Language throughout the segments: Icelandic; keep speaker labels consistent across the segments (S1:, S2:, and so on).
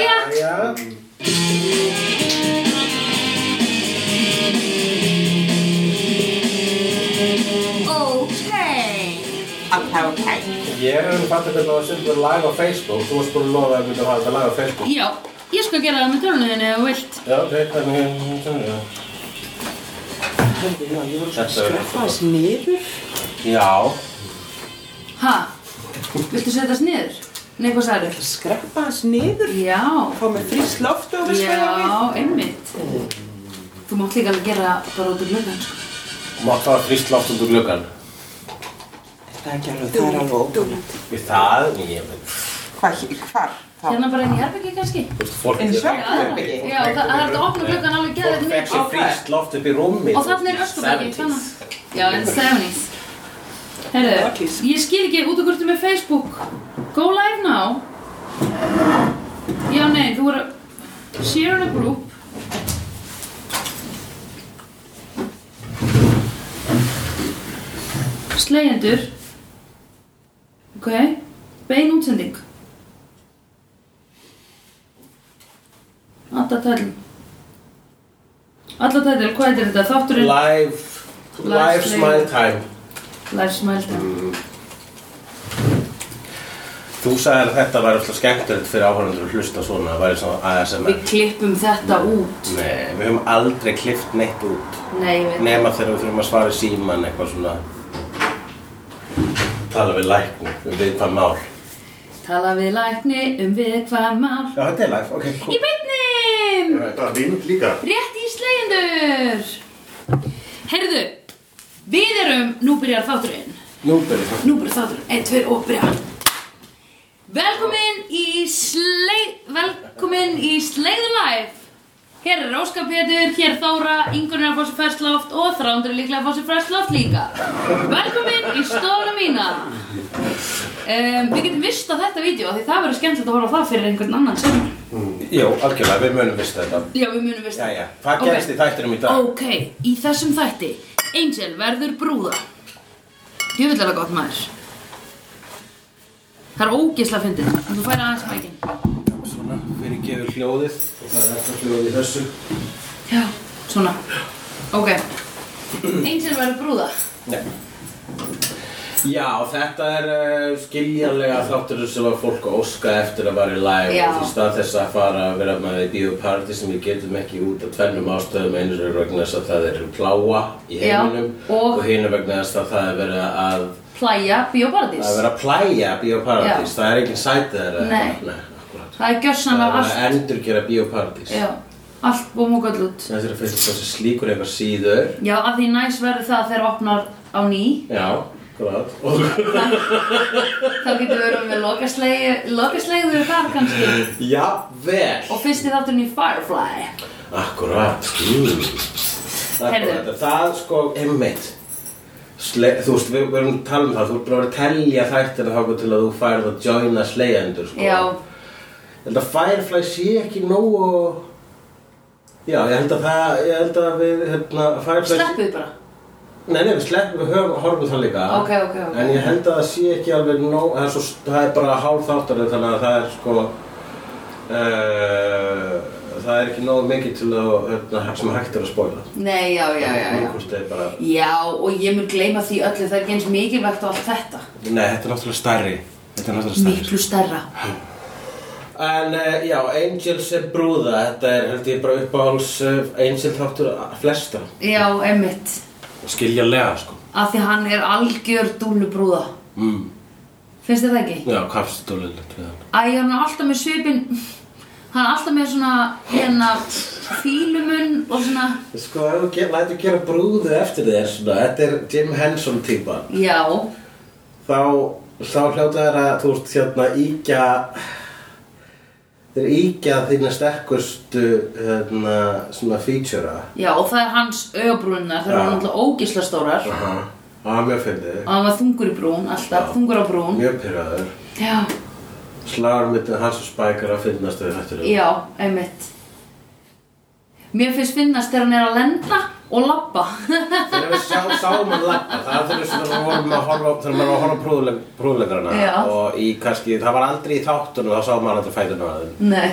S1: já.
S2: Ókei.
S3: Alltaf ok.
S1: Ég er alveg fattur hvernig að senda þér live á Facebook. Þú varst búin að lofa að mynda að hafa þetta live á Facebook.
S2: Já, ég skal gera það með tölunni þinni ef þú vilt.
S1: Já, ok, hvernig er það?
S3: Hörðu, já, ég voru svo
S1: Þetta er-
S3: skraffa þess niður.
S1: Já.
S2: Ha? Viltu setjast niður? Nei, hvað sagður?
S3: Skraffa þess niður.
S2: Já.
S3: Fá mér frýst loft og við skoðum við.
S2: Já, einmitt. Þú mátt líka alveg gera það bara út úr glöggan, sko.
S1: Mátt það frýst látt út úr glöggan.
S3: Það er ekki alveg, það er alveg óbúinat.
S1: Við það, ég veit.
S3: Hvað, hvað?
S2: Hérna bara inn í herbyggi kannski?
S1: Þú veist, fólk...
S3: Inn í
S2: Já,
S3: svefnherbyggi?
S2: já, það það er hægt að opna glöggan alveg geðið
S1: Fólk fekk
S2: mikið.
S1: sér frýst látt upp í rúmi.
S2: Og þarna er öskubæki, þannig.
S1: 70s.
S2: Já, en 70s. Herru,
S3: Rockies.
S2: ég skil ekki út og hvort með Facebook. Go live now. Já, nei, þú voru... Share in a group. Slegjendur. Ok. Bein útsending. Alla tæll. Alla tæll, hvað heitir þetta? Þátturinn?
S1: Live... Live smile time.
S2: Live Smile Time
S1: Þú sagðir að þetta væri alltaf skemmtilegt fyrir áhörnundur að hlusta svona, það væri svona ASMR.
S2: Við klippum þetta út
S1: Nei, við höfum aldrei klift neitt út
S2: Nei, ég veit
S1: nema þegar við þurfum að svara í síman eitthvað svona tala við lækni, við veit hvað mál Já,
S2: Tala við lækni um við hvað mál
S1: þetta er live, ok,
S2: Í beinnim!
S4: Þetta er mynd líka.
S2: Rétt í slegjendur! Heyrðu, við erum, nú byrjar þátturinn
S1: Nú byrjum við
S2: Nú byrjar þátturinn, ein, tveir og byrja Velkomin í sleið Velkomin í sleiðu live Hér er Óskar Pétur, hér Þóra, Ingurinn er fórsið færsloft og Þrándur er líklega fórsið færsloft líka. Velkomin í stofuna mína! Um, við getum vist á þetta vídeo því það verður skemmtilegt að horfa á það fyrir einhvern annan sem.
S1: Jó, algjörlega, við munum vist þetta
S2: Já, við munum vist
S1: Jæja, hvað gerist í þættinum í dag?
S2: Ok, í þessum þætti, Angel verður brúða. Ég vil alveg gott maður. Það er ógeðslega fyndið, en þú færi aðeins mækinn.
S1: Svona, við erum gefið hljóðið og það er þetta hljóðið í þessu
S2: Já, svona. Ok, Angel verður brúða.
S1: Nei Já, þetta er uh, skiljanlega þáttur sem að fólk óska eftir að vara í live
S2: Já.
S1: og í stað þess að fara að vera með í bíóparti sem við getum ekki út af tvennum ástöðum einu er vegna þess að það er pláa í
S2: Já,
S1: heiminum
S2: og-
S1: hinu vegna þess að það er verið að,
S2: Plæja, bioparadís.
S1: að vera að plæja bíóparadís,
S2: Já.
S1: það er ekki sætið þeirra
S2: Nei.
S1: akkurat
S2: Það er
S1: Það er
S2: gjörsanlega
S1: verið
S2: allt
S1: að endurgera bíóparadís
S2: Já, allt búm og göll út
S1: Þessir að finnst þessi slíkur eitthvað síður
S2: Já, að því næs verður það þegar opnar á ný
S1: Já, akkurat og
S2: Þá getur við verið með lokasleigi Lokasleigur þar kannski
S1: jafnvel
S2: Og fyrst í þátturinn í Firefly
S1: Akkurát mm.
S2: Heyrðu.
S1: Akkurát, það sko, einmitt Sle, Þú veist, við verðum að tala um það Þú ert bara að telja þættina þáka til að þú færð að joina slegjendur sko.
S2: Já,
S1: Ég held að Firefly sé ekki nógu Já, ég held að það Ég held að við, hérna, Firefly
S2: sleppuð bara
S1: Nei, nei, við sleppum, við höfum horfum það líka
S2: Ok, ok, ok.
S1: En ég held að það sé ekki alveg nóg Það er, svo, það er bara hálf þáttar Þannig að það er sko uh, Það er ekki nóg mikið til að hérna, sem hægt er að spoila
S2: Nei, já, já, já, já
S1: Hvort er bara,
S2: Já, og ég mun gleyma því öllu Það er ekki eins mikilvægt á allt þetta
S1: nei, þetta er náttúrulega stærri Þetta er náttúrulega stærri
S2: Miklu stærra
S1: En uh, já, Angels er brúða Þetta er, held ég, bara uppáhals uh, Angel þáttur flesta
S2: Já, emmitt
S1: Skiljanlega, sko
S2: Að því hann er algjör dúlubrúða
S1: mm.
S2: Finnst þér það ekki?
S1: Já, kapstólulegt við hann
S2: Æ, hann er alltaf með svipin Hann er alltaf með svona hérna fílumun og svona
S1: Sko, ef þú ge- lætur gera brúðu eftir þér svona, Þetta er Jim Henson típan
S2: Já,
S1: þá þá hljóta þær að þú ert hérna íkja þeir íkja þína sterkustu hérna svona feature
S2: já og það er hans augabrúnar Það
S1: Já.
S2: eru náttúrulega ógisla stórar Og
S1: aha, það var mjög fyndið
S2: hann var þungur í brún, alltaf,
S1: Já.
S2: þungur á brún
S1: mjög pyrraður
S2: Já,
S1: slagur mitt hans og Spike er að finnast við þetta
S2: já, einmitt Mér finnst finnast þegar hann er að lenda og labba
S1: þegar við sjá, sáum að lappa það er þegar við vorum að horfa þegar maður var að horfa á prúðuleg, prúðulegrana
S2: Já.
S1: og í kannski, það var aldrei í þáttunum þá sáum maður aldrei fætuna að þeim
S2: Nei,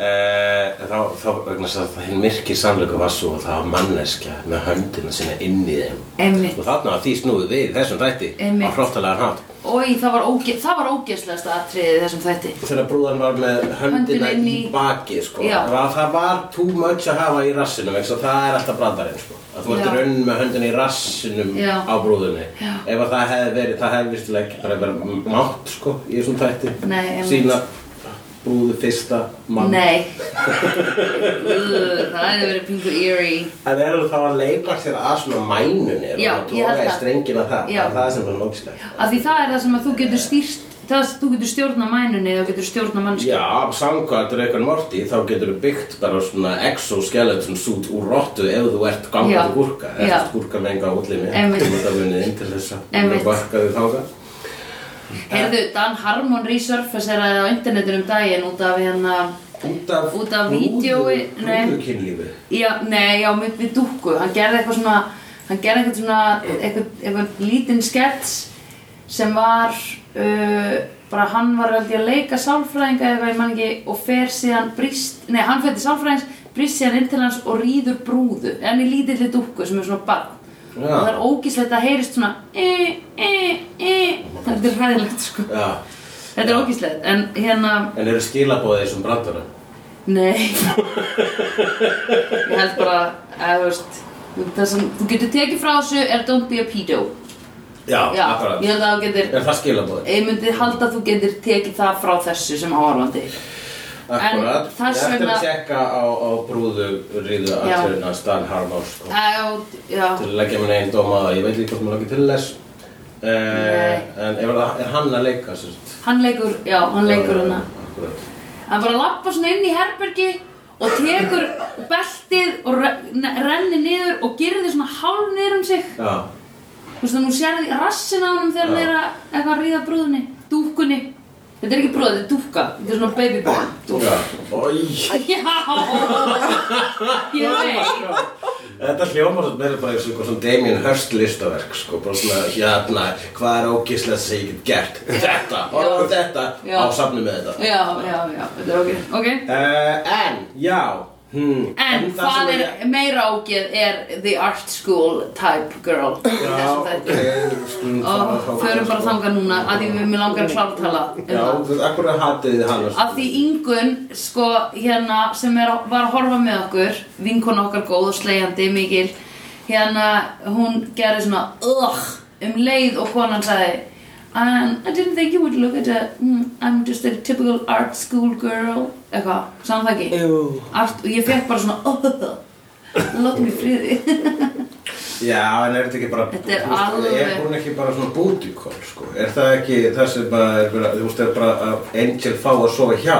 S1: Eh, þá, þá vegna þess að hinn myrki sannleiku var svo að það var manneskja með höndina sinna inn í þeim
S2: Einmitt.
S1: og þarna var því snúið við í þessum þætti
S2: Einmitt.
S1: á hróttalega hát
S2: Ói, það var, óge það var ógeðslegasta atriðið í þessum þætti.
S1: þegar brúðan var með höndina
S2: Höndina inn
S1: í
S2: í-
S1: baki sko.
S2: Já.
S1: það, það var too much að hafa í rassinum eins og það er alltaf brandarinn sko. að
S2: Já.
S1: þú ert raunin með höndina í rassinum
S2: Já.
S1: á brúðunni
S2: Já.
S1: ef að það hefði verið, það hefði vistilega ekki bara verið mátt sko, í þessum þætti
S2: Nei, einmitt.
S1: sína brúðu fyrsta mann
S2: Nei. Ú, það hefði verið pingu eerie.
S1: En er það að leika sér að svona mænunni
S2: Já, ég held
S1: og tóka í
S2: það.
S1: strengina það,
S2: Já.
S1: það er það sem var lókslegt.
S2: Af því það er það sem að þú getur stýrt, það sem þú getur stjórna mænunni eða þú getur stjórna mannskja.
S1: Já, samkvæmt Reykján Morty þá getur þú byggt bara svona exoskeleton suit úr rottu ef þú ert
S2: Já.
S1: gangandi gúrka
S2: Já.
S1: eða gúrka með enga útlimi
S2: Einmitt.
S1: þú það vunnið inn til þess að
S2: Einmitt.
S1: þú bakka því þáka
S2: Heyrðu, Dan Harmon resurfaceraði á internetinu um daginn út af hérna,
S1: Út af,
S2: Út af vídeói- nei.
S1: brúðukynlífi
S2: já, nei, já, mynd við dúkku. Hann gerði eitthvað svona, hann gerði eitthvað svona, eitthvað, eitthvað lítinn skets sem var, uh, bara hann var held ég að leika sálfræðinga eða eitthvað, ég man ekki, og fer síðan brist, nei, hann fer til sálfræðings, brist síðan inn til hans og rýður brúðu, en í lítilli dúkku sem er svona barn.
S1: Já.
S2: Og það er ógíslegt að heyrist svona, e, e, e, þetta er hræðilegt, sko.
S1: Já,
S2: Þetta er ógíslegt, en hérna,
S1: en eru skilabóðið þessum brandarum?
S2: nei Ég held bara, að þú veist það sem, þú getur tekið frá þessu er don't be a pedo
S1: Já,
S2: Já,
S1: akkurat
S2: ég held að þú getur
S1: Er það skilabóðið?
S2: Ég myndi halda að þú getur tekið það frá þessu sem áhorfandi
S1: Akkurat,
S2: þess
S1: ég ætti
S2: vegna-
S1: að tjekka á, á brúðu ríðu
S2: Já.
S1: aðtöðuna Stan Harmon sko.
S2: Æ, Já,
S1: til að leggja mér einn dóm að það, ég veit ekki hvort maður lakið til þess uh,
S2: Nei.
S1: en er, það- er hann að leika sérst
S2: hann leikur, já, hann leikur hérna. hana
S1: akkurat
S2: Hann bara lappa svona inn í herbergi og tekur beltið og re- ne- rennir niður og gerði svona hálf niður um sig
S1: já,
S2: Þú veist að nú sérði rassin á honum þegar
S1: Já.
S2: hann er að eitthvað að ríða brúðunni, dúkkunni. Þetta er ekki brúða, þetta er dúkka. Þetta er svona babyborn
S1: já,
S2: dúkka.
S1: oi
S2: Já! Ég veit.
S1: Þetta hljómar svo meira bara eins og eitthvað svona Damien Hirst listaverk sko, bara svona hérna, hvað er ógislega sem ég get gert? Þetta, horfum
S2: Já.
S1: þetta
S2: Já.
S1: á safni með þetta.
S2: Já, já, já, þetta er ok. Ok.
S1: Uh, en, já, hm,
S2: En
S1: það sem
S2: hvað er
S1: ég-
S2: meira ógeð er the art school type girl í
S1: Já,
S2: þessum
S1: ok,
S2: þætti.
S1: skulum fara
S2: Og
S1: þangað,
S2: förum bara
S1: sko.
S2: þangað núna að því við mér langar að klára að tala um
S1: Já,
S2: það.
S1: þú veist, akkur að hatið þið hann
S2: Af því Ingun, sko, hérna, sem er, var að horfa með okkur, vinkona okkar góð og slegjandi, mikil, hérna, hún gerði svona, ugh, um leið og konan sagði, um, I didn't think you would look at a, mm, I'm just a typical art school girl, eitthvað, saman það ekki?
S3: Jú.
S2: Art, og ég fekk bara svona, ugh, látum í friði.
S1: Já, en er þetta ekki bara
S2: Þetta er
S1: þú veist,
S2: alveg-
S1: Er hún ekki bara svona bútikon, sko? Er það ekki það sem bara er verið að- Þú veist, er bara að Angel fá að sofa hjá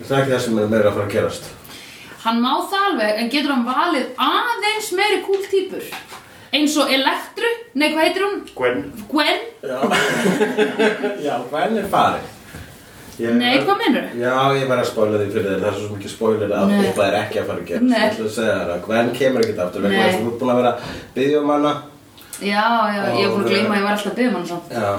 S1: Er það ekki það sem er meira að fara að gerast?
S2: Hann má það alveg, en getur hann valið aðeins meiri kúl típur? Eins og Elektru, nei, hvað heitir hún?
S4: Gwen
S2: Gwen?
S1: Já, hvern er farin? Ég,
S2: Nei, hvað meinarðu?
S1: Já, ég var að spóla því fyrir þér, það er svo mikið spólir að
S2: Nei.
S1: eitthvað er ekki að fara að gerast
S2: Nei.
S1: Ég ætla að segja þér að hvern kemur ekkert aftur vegna
S2: Nei.
S1: þess að þú ert búin að vera byggjum hana
S2: Já, já, ég hef búin að gleyma að ég var alltaf að um byggja mann samt
S1: Já,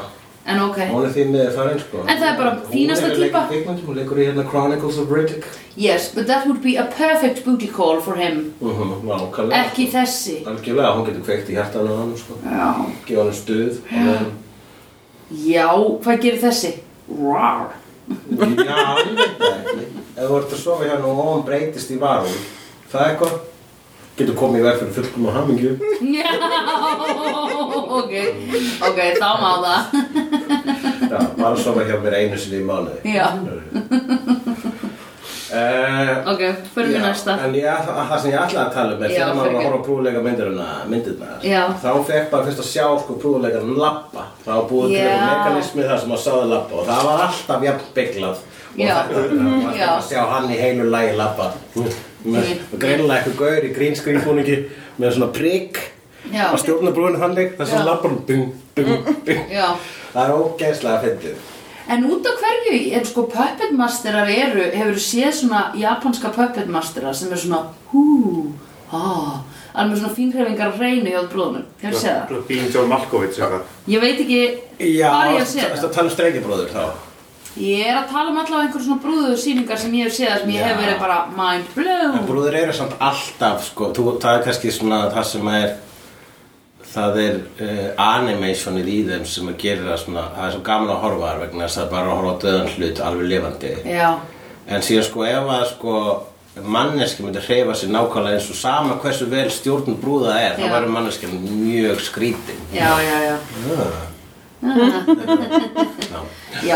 S2: En ok
S1: hún er því með farin sko
S2: En það er bara fínasta
S1: Hún er
S2: típa.
S1: leikur kvikmynd, hún leikur í hérna Chronicles of Riddick
S2: Yes, but that would be a perfect booty call for him
S1: Mhm, Nákvæmlega
S2: Ekki þessi
S1: Algjörlega, hún getur kveikt í hjartan á hann sko.
S2: Já
S1: Gefa hann stuð á meðan-
S2: Já, hvað gerir þessi? Rar
S1: Já, ég veit það ekki Ef þú ert að sofa hérna og hann breytist í varul Það er eitthvað Getur komið í veg fyrir fullkum og hamingju
S2: Já, ok Ok, þá má það
S1: Já, bara að sofa hjá mér einu sinni í mánuði
S2: Já,
S1: uh,
S2: ok, fyrir við næsta
S1: En ég, ætla- að, það sem ég ætlaði að tala um er
S2: Já,
S1: Þegar maður var
S2: fyrirgefðu.
S1: að horfa á prúðuleika myndirna, myndirna
S2: Já.
S1: Þá fekk bara fyrst að sjá sko prúðuleikarinn lappa Þá var búið til
S2: Já.
S1: eitthvað mekanismi þar sem maður sáði lappa Og það var alltaf jafn bygglað Og
S2: Já. Mhm,
S1: þetta var alltaf
S2: Já.
S1: að sjá hann í heilu lagi lappa Og greinilega eitthvað gaur í grínskringbúningi Með svona prigg
S2: Já.
S1: Að stjórna brúinu þannig Þess
S2: Já.
S1: að lappa hann bing, bing, bing
S2: Já
S1: Það er ógeðslega fyndið
S2: En út af hverju er sko puppet masterar eru, hefur séð svona japanska puppet mastera sem er svona hú, ha, alveg svona fínhreifingar á hreinu hjá brúðunum, hefur séð það?
S4: Bílum John Malkovich eitthvað
S2: Ég veit ekki
S1: Já,
S2: hvar ég hef
S1: ertu
S2: séð
S1: ertu
S2: það.
S1: að tala um streikibróður þá
S2: Ég er að tala um allavega einhver svona brúður sýningar sem ég hef séð þar sem ég
S1: Já.
S2: hef verið bara mind blown.
S1: En brúður eru samt alltaf sko, þú, það er kannski svona það sem er það er uh, animationið í þeim sem að gera það svona, það er svo gaman að horfa þar vegna þess að bara að horfa á döðan hlut alveg lifandi
S2: Já,
S1: en síðan sko ef að sko manneski myndi hreyfa sér nákvæmlega eins og sama hversu vel stjórn brúða er
S2: Já.
S1: þá verður manneskjan mjög skrítin Ah.
S2: já, já, já.
S1: Já,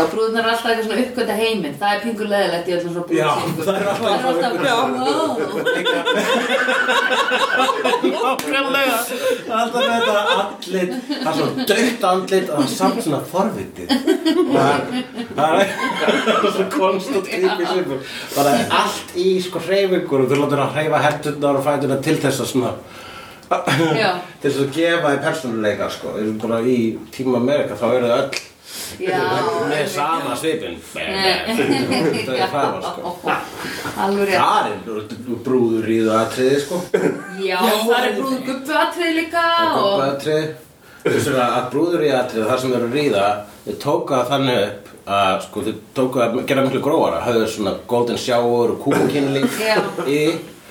S2: Já, brúðunar er alltaf eitthvað svona uppgönda heiminn. Það er pingur leðilegt í öllum svona
S1: Já,
S2: brúðsýningum.
S1: það er alltaf
S2: alltaf
S1: svona
S2: bara,
S1: Nákvæmlega Alltaf með þetta andlit Það er svona dögt andlit og það er samt svona forvitið Það er- Það er svona konstant klípi svipur Það er allt í sko hreyfingur og þú látur að hreyfa hendurnar og fæturnar til þess að svona
S2: Já.
S1: til þess að gefa í persónuleika sko Þeir eru bara í tíma Amerika þá eru þau öll
S2: já.
S1: með sama svipin Það er það sko
S2: Alveg rétt.
S1: Það er brúður í það atriði sko
S2: Já, það er brúð gubbu atrið líka og...
S1: Gubbatrið Þessar að brúður í atrið þar sem þeir eru að ríða Þeir tóka það þannig upp að sko þeir tóka að gera miklu gróara Hafðu svona golden shower og kúkinling
S2: Já.
S1: í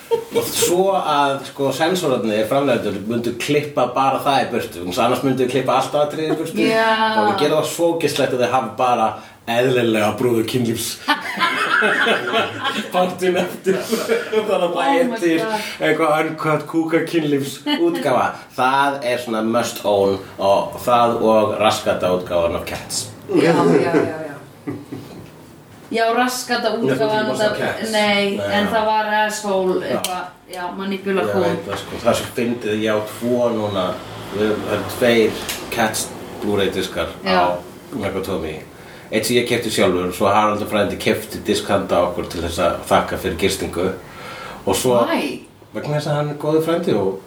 S1: Og svo að sko sensorarnir framlegður myndu klippa bara það í burtu Þannig að annars myndu þau klippa allt atriðið í burtu
S2: Já.
S1: Og við gera það svo gistlegt að þeir hafa bara eðlilega brúður kynlífs Partinn eftir Þannig að það
S2: Oh
S1: er
S2: my
S1: til
S2: God.
S1: eitthvað önkvæmt kúka kynlífs útgáfa Það er svona must own og það og raskata útgáfan af Cats
S2: Já, já, já, já. Já, raskata útgáðan
S1: þú varst á Cats.
S2: Nei,
S1: Nei,
S2: en
S1: já.
S2: það var asshole eitthvað, já, manipula
S1: Ég
S2: kún.
S1: veit það sko, það sem fyndið ég á tvo núna Við höfum- það eru tveir Cats Blu-ray diskar
S2: Já.
S1: á Megatomi Eitt sem ég kefti sjálfur, svo Haraldur frændi kefti disk handa okkur til þess að þakka fyrir gistingu Og svo,
S2: Næ,
S1: vegna þess að hann er góði frændi og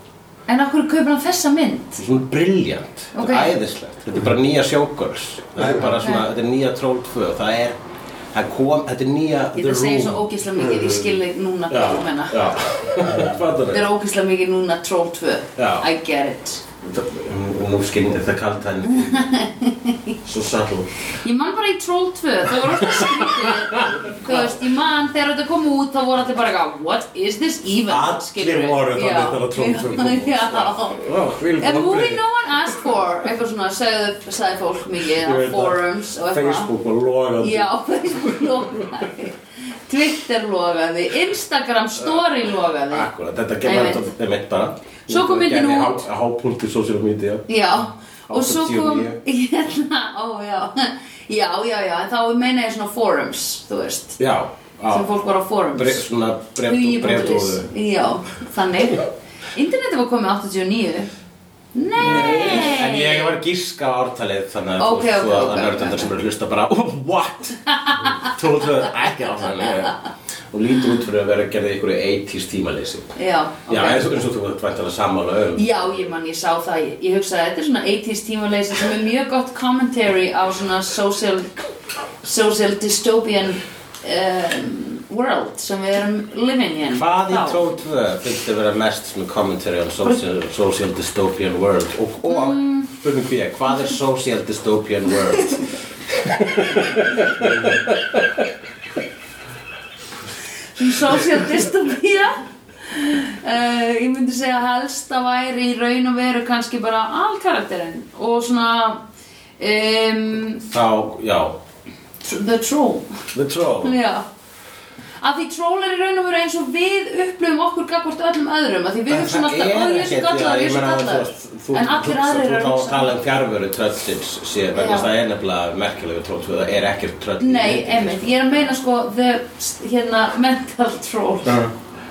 S2: en okkur kaupir hann þessa mynd?
S1: svona brilljant,
S2: Ok.
S1: þetta er æðislegt þetta er bara nýja showgirls það er bara svona, þetta er nýja Troll 2 það er, það kom, þetta er nýja
S2: Ég það segir svo ógeðslega mikið, ég skil þig núna
S1: já,
S2: hvað þú menna.
S1: já, fattar
S2: Þetta er ógeðslega mikið núna Troll 2.
S1: Já.
S2: I get it.
S1: þau og nú skinnir það kallt henni svo sallur
S2: Ég man bara í Troll 2, það var alltaf skrítið. Þú veist, ég man þegar þetta kom út, þá voru allir bara eitthvað, what is this even?
S1: Allir
S2: Skilurðu?
S1: voru
S2: Já,
S1: þannig þegar Troll 2 kom út. sko.
S2: Já, já. A movie no one asked for, eitthvað svona, sagði, sagði fólk mikið, á forums og eitthvað.
S1: Facebook var logandi
S2: Já, Facebook logaði. Twitter logaði, Instagram story logaði.
S1: Akkurat, þetta
S2: Nei,
S1: kemur
S2: ég veit.
S1: þetta er mitt bara
S2: Svo kom myndin út.
S1: Hápunkt í social media
S2: Já, og svo kom
S1: 89.
S2: hérna, ó já Já, já, já, en þá meina ég svona forums, þú veist
S1: Já, á
S2: sem fólk var á forums
S1: Ah. bre- Svona
S2: Hugi.is.
S1: brefdóðu
S2: Já, þannig Interneti var komið 89 Nei
S1: En ég var að gíska á ártalið þannig að
S2: Ok, ok,
S1: þú að
S2: ok,
S1: það
S2: ok, ok.
S1: nördandar sem eru að hlusta bara oh, What? Þú tröðu ekki á þannig og lítur út fyrir að vera að gera einhverju 80s tímaleysi
S2: Já, ok
S1: Já, eins og, eins og þú veit væntanlega sammála um
S2: Já, ég man, ég sá það, ég, ég hugsaði að þetta er svona 80s tímaleysi sem er mjög gott commentary á svona social, social dystopian um, world sem við erum living in
S1: Hvað í
S2: þá.
S1: Tról 2 finnst þér vera mest svona commentary on social, social dystopian world og, og
S2: Mm.
S1: spurning B, hvað er social dystopian world?
S2: social dystopía uh, ég myndi segja helst að væri í raun og veru kannski bara alkarakterinn og svona um,
S1: Þá, já,
S2: tr- the troll
S1: The Troll
S2: já að því troll er í raun og veru eins og við upplöfum okkur gagvart öllum öðrum að því við
S1: En
S2: hugsaum alltaf, ó ég er svo gallar, ég er svo gallar en allir aðrir
S1: Þú
S2: eru
S1: þá tala um fjárveru tröllsins síðan vegna
S2: Já.
S1: þess að það er nefnilega merkilegu tróll svo það er ekkert tröll
S2: nei,
S1: í myndinni.
S2: einmitt, ég er að meina sko the, hérna, mental troll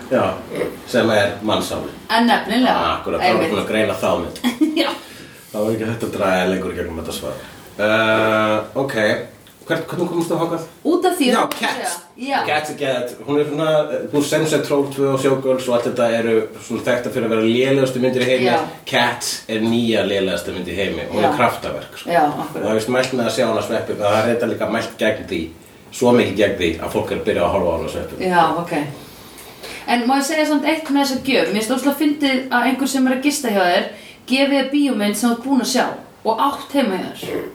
S1: Já, sem er mannsáli
S2: en nefnilega,
S1: Ah, Akkurat, þá er búin
S2: einmitt
S1: að greina þá mynd
S2: já
S1: Það var ekki hægt að draga lengur í gegnum þetta svar uh, Ok, Hvern, hvernig komumst þú hákað?
S2: Út af því
S1: Já,
S2: að þú
S1: Cats
S2: segja. Já,
S1: Cats er gett, hún er svona eh, Þú sem sett Troll 2 og Showgirls og allt þetta eru svona þekkta fyrir að vera lélegastu myndir í heimi
S2: Já.
S1: Cats er nýja lélegastu myndir í heimi og hún
S2: Já.
S1: er kraftaverk sko.
S2: já,
S1: og það
S2: akkurat
S1: er vist mælt með að sjá hana sveppu það er reynda líka mælt gegn því svo mikið gegn því að fólk er að byrja að horfa á hana sveppu
S2: Já, ok En má ég segja samt eitt með þessa gjöf Mér finnst óslega fyndið að einhver sem er að gista hjá þér gefi þér bíómynd sem þú ert búin að sjá og átt heima hjá þér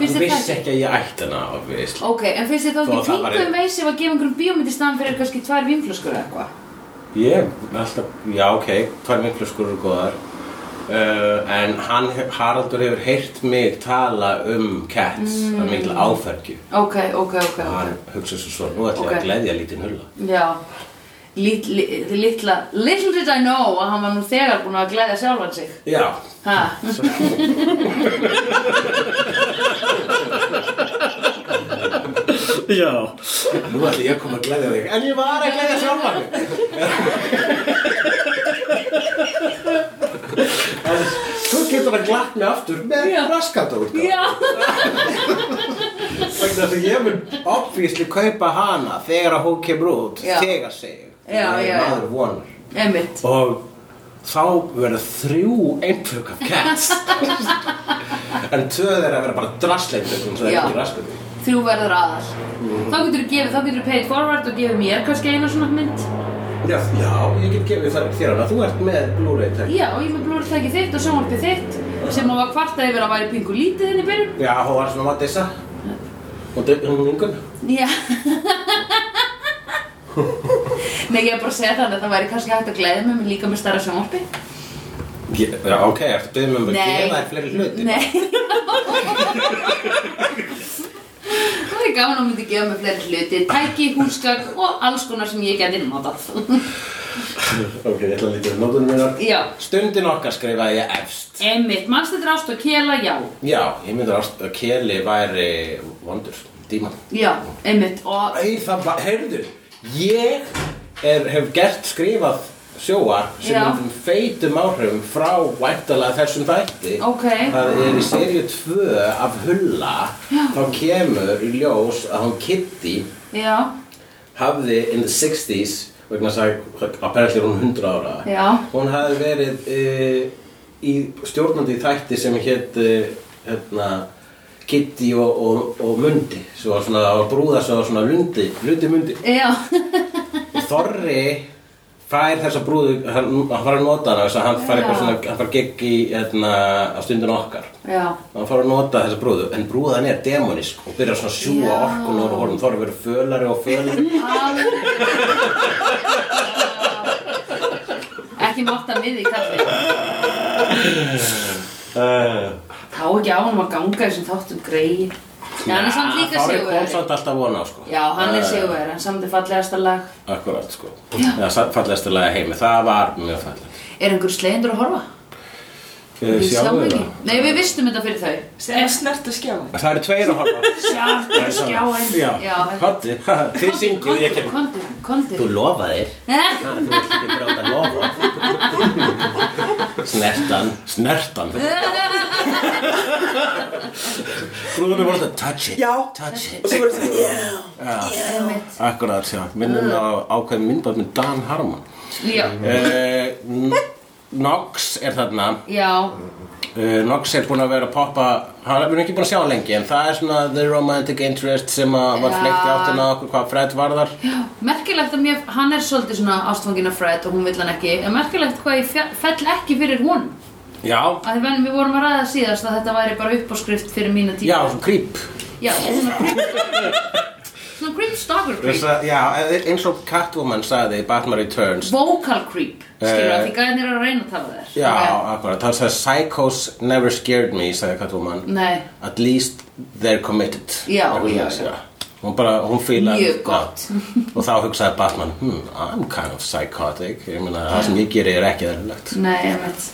S2: Finnst
S1: Hann
S2: þér
S1: vissi
S2: það
S1: ekki að ég ætti hana obviously.
S2: Ok, en finnst þér þá
S1: Þó
S2: ekki
S1: að það væri-
S2: fengum veisi að gefa einhverjum bíómynd í staðan fyrir kannski tvær vínflöskur eða eitthvað?
S1: Ég er alltaf, já ok, tvær miklufskur eru góðar uh, En hann, Haraldur hefur heyrt mig tala um cats
S2: Mm.
S1: Það er mikil áfergju
S2: Ok, ok, ok,
S1: Og hann
S2: ok.
S1: hugsa svo svo, nú ætla ég
S2: Ok.
S1: að gleðja lítinn hulla
S2: Já. Lit, li, litla, little did I know að hann var nú þegar búinn að gleðja sjálfan sig.
S1: Já,
S2: Ha?
S1: já Nú ætla ég að koma að gleðja þig En ég var að gleðja sjálfan mig En Svo getur hann glatt mig aftur með
S2: Já.
S1: raskatótt
S2: Já.
S1: Vegna þess að ég mun obvísli kaupa hana þegar að hún kemur út,
S2: Já.
S1: þegar segir.
S2: Já, já, já.
S1: Maður vonar.
S2: Emmitt.
S1: Og þá verða þrjú eintök af cats. en tvöð er að vera bara drasleintök, þannig að það er
S2: Já.
S1: ekki raskat.
S2: Þrjú verður aðal. Þá getur þú gefið, þá getur þú paid forward og gefið mér kannski eina svona mynd.
S1: Já, já, ég get gefið það þér hana. Þú ert með Blu-ray tag.
S2: Já, og ég er með blóðurtæki þitt og sjónvarpið þitt sem hún var kvartað yfir að væri pingu lítið inn í byrjun.
S1: Já, hún var svona að dissa. Og dögum hún yngun.
S2: Já Nei, ég er bara að segja þannig að það væri kannski hægt að gleðja mig líka með starra sjónvarpi
S1: Já, ok, ertu byggðið með mér að
S2: Nei.
S1: gefa þér fleiri hluti?
S2: Nei Það væri gaman að hún myndi gefa mig fleiri hluti Tæki, húsgagn og alls konar sem ég geti notað
S1: Ok, ég ætla að lítið um nótunum minnar.
S2: Já
S1: Stundin okkar skrifaði ég efst.
S2: Einmitt, mannstu þetta ást og kela, já
S1: Já, ég myndi að Keli væri vondur, díman.
S2: Já, einmitt og
S1: Æ, það var, heyrðu, ég er, hef gert skrifað sjóar sem
S2: Já.
S1: er um feitum áhrifum frá væntalega þessum þætti.
S2: Ok.
S1: Það er í seríu 2 af Hulla,
S2: Já.
S1: þá kemur í ljós að hún Kitty
S2: Já,
S1: hafði in the 60s, vegna þess að apparently er hún 100 ára,
S2: Já.
S1: hún hafði verið uh, í stjórnandi í þætti sem hétt uh, hérna, Kitty og, og, og Mundi, sem var svona að brúða sem var svona lundi, lundi Mundi.
S2: já
S1: Þorri fær þessa brúðu, hann, hann fara að nota hana, þess að hann
S2: Já.
S1: fær eitthvað svona, hann fara gegg í hérna, á stundin okkar.
S2: Já,
S1: Hann fara að nota þessa brúðu, en brúðan er demonisk og byrjar svona að sjúga
S2: Já.
S1: orkun og orðum, Þorri verið fölari og fölari.
S2: alveg Ekki mátta miði í kallið
S1: Uh,
S2: Þá ekki á hann að ganga þessum þáttum grei Já, hann er samt líka
S1: Kári kom
S2: sigurveri
S1: samt alltaf vona á sko
S2: Já, hann er
S1: Eh,
S2: sigurveri, en samt er fallegasta lag
S1: Akkurat sko
S2: Já.
S1: Já, samt fallegast að lega heimi Það var mjög fallegt Eh,
S2: Er einhver slegjendur að horfa? Við sjáum ekki Nei, við vistum þetta fyrir þau
S3: Sem er snert að skjáin.
S1: Það eru tveir að horfa
S3: Sjálf að skjáin.
S2: Já.
S1: Hottu, þið syngið ég kem
S2: Kondur, kondur
S1: Þú lofa þér Ha, Þú ert ekki brjóta lofa Snertan Snertan Brúðunum voru þetta touch it
S3: Já.
S1: Touch it
S3: Og svo voru það, já.
S1: Akkurat, já
S2: Eh.
S1: Minnum á ákveðin myndbæð með Dan Harmon
S2: Já,
S1: Eh, N- Nox er þarna
S2: já,
S1: uh, Nox er búin að vera að poppa hann er ekki búin að sjá hann lengi en það er svona the romantic interest sem að var
S2: Já.
S1: fleikt í áttina að okkur hvað Fred varðar
S2: já Merkilegt að mér, hann er svolítið svona ástfangin af Fred og hún vill hann ekki En merkilegt hvað ég fe- fell ekki fyrir hún
S1: já,
S2: Af því venni, við vorum að ræða síðast að þetta væri bara uppáskrift fyrir mína
S1: já,
S2: tíma
S1: svona creep
S2: Já, svona Svona creep stalker creep
S1: Þess að- já, e, eins og Catwoman sagði í Batman Returns
S2: Vocal creep, skilur
S1: Eh.
S2: að því gæðin er að reyna að tala þér
S1: já, akkurat, það sagði Psychos never scared me, sagði Catwoman
S2: Nei,
S1: at least they're committed
S2: Mm. Já,
S1: Hún-
S2: já, já.
S1: Hún bara, hún fílar
S2: Mjög gott.
S1: Og þá hugsaði Batman, hmm, I'm kind of psychotic Ég meina, það sem ég geri er ekki þærlegt
S2: nei, ég veit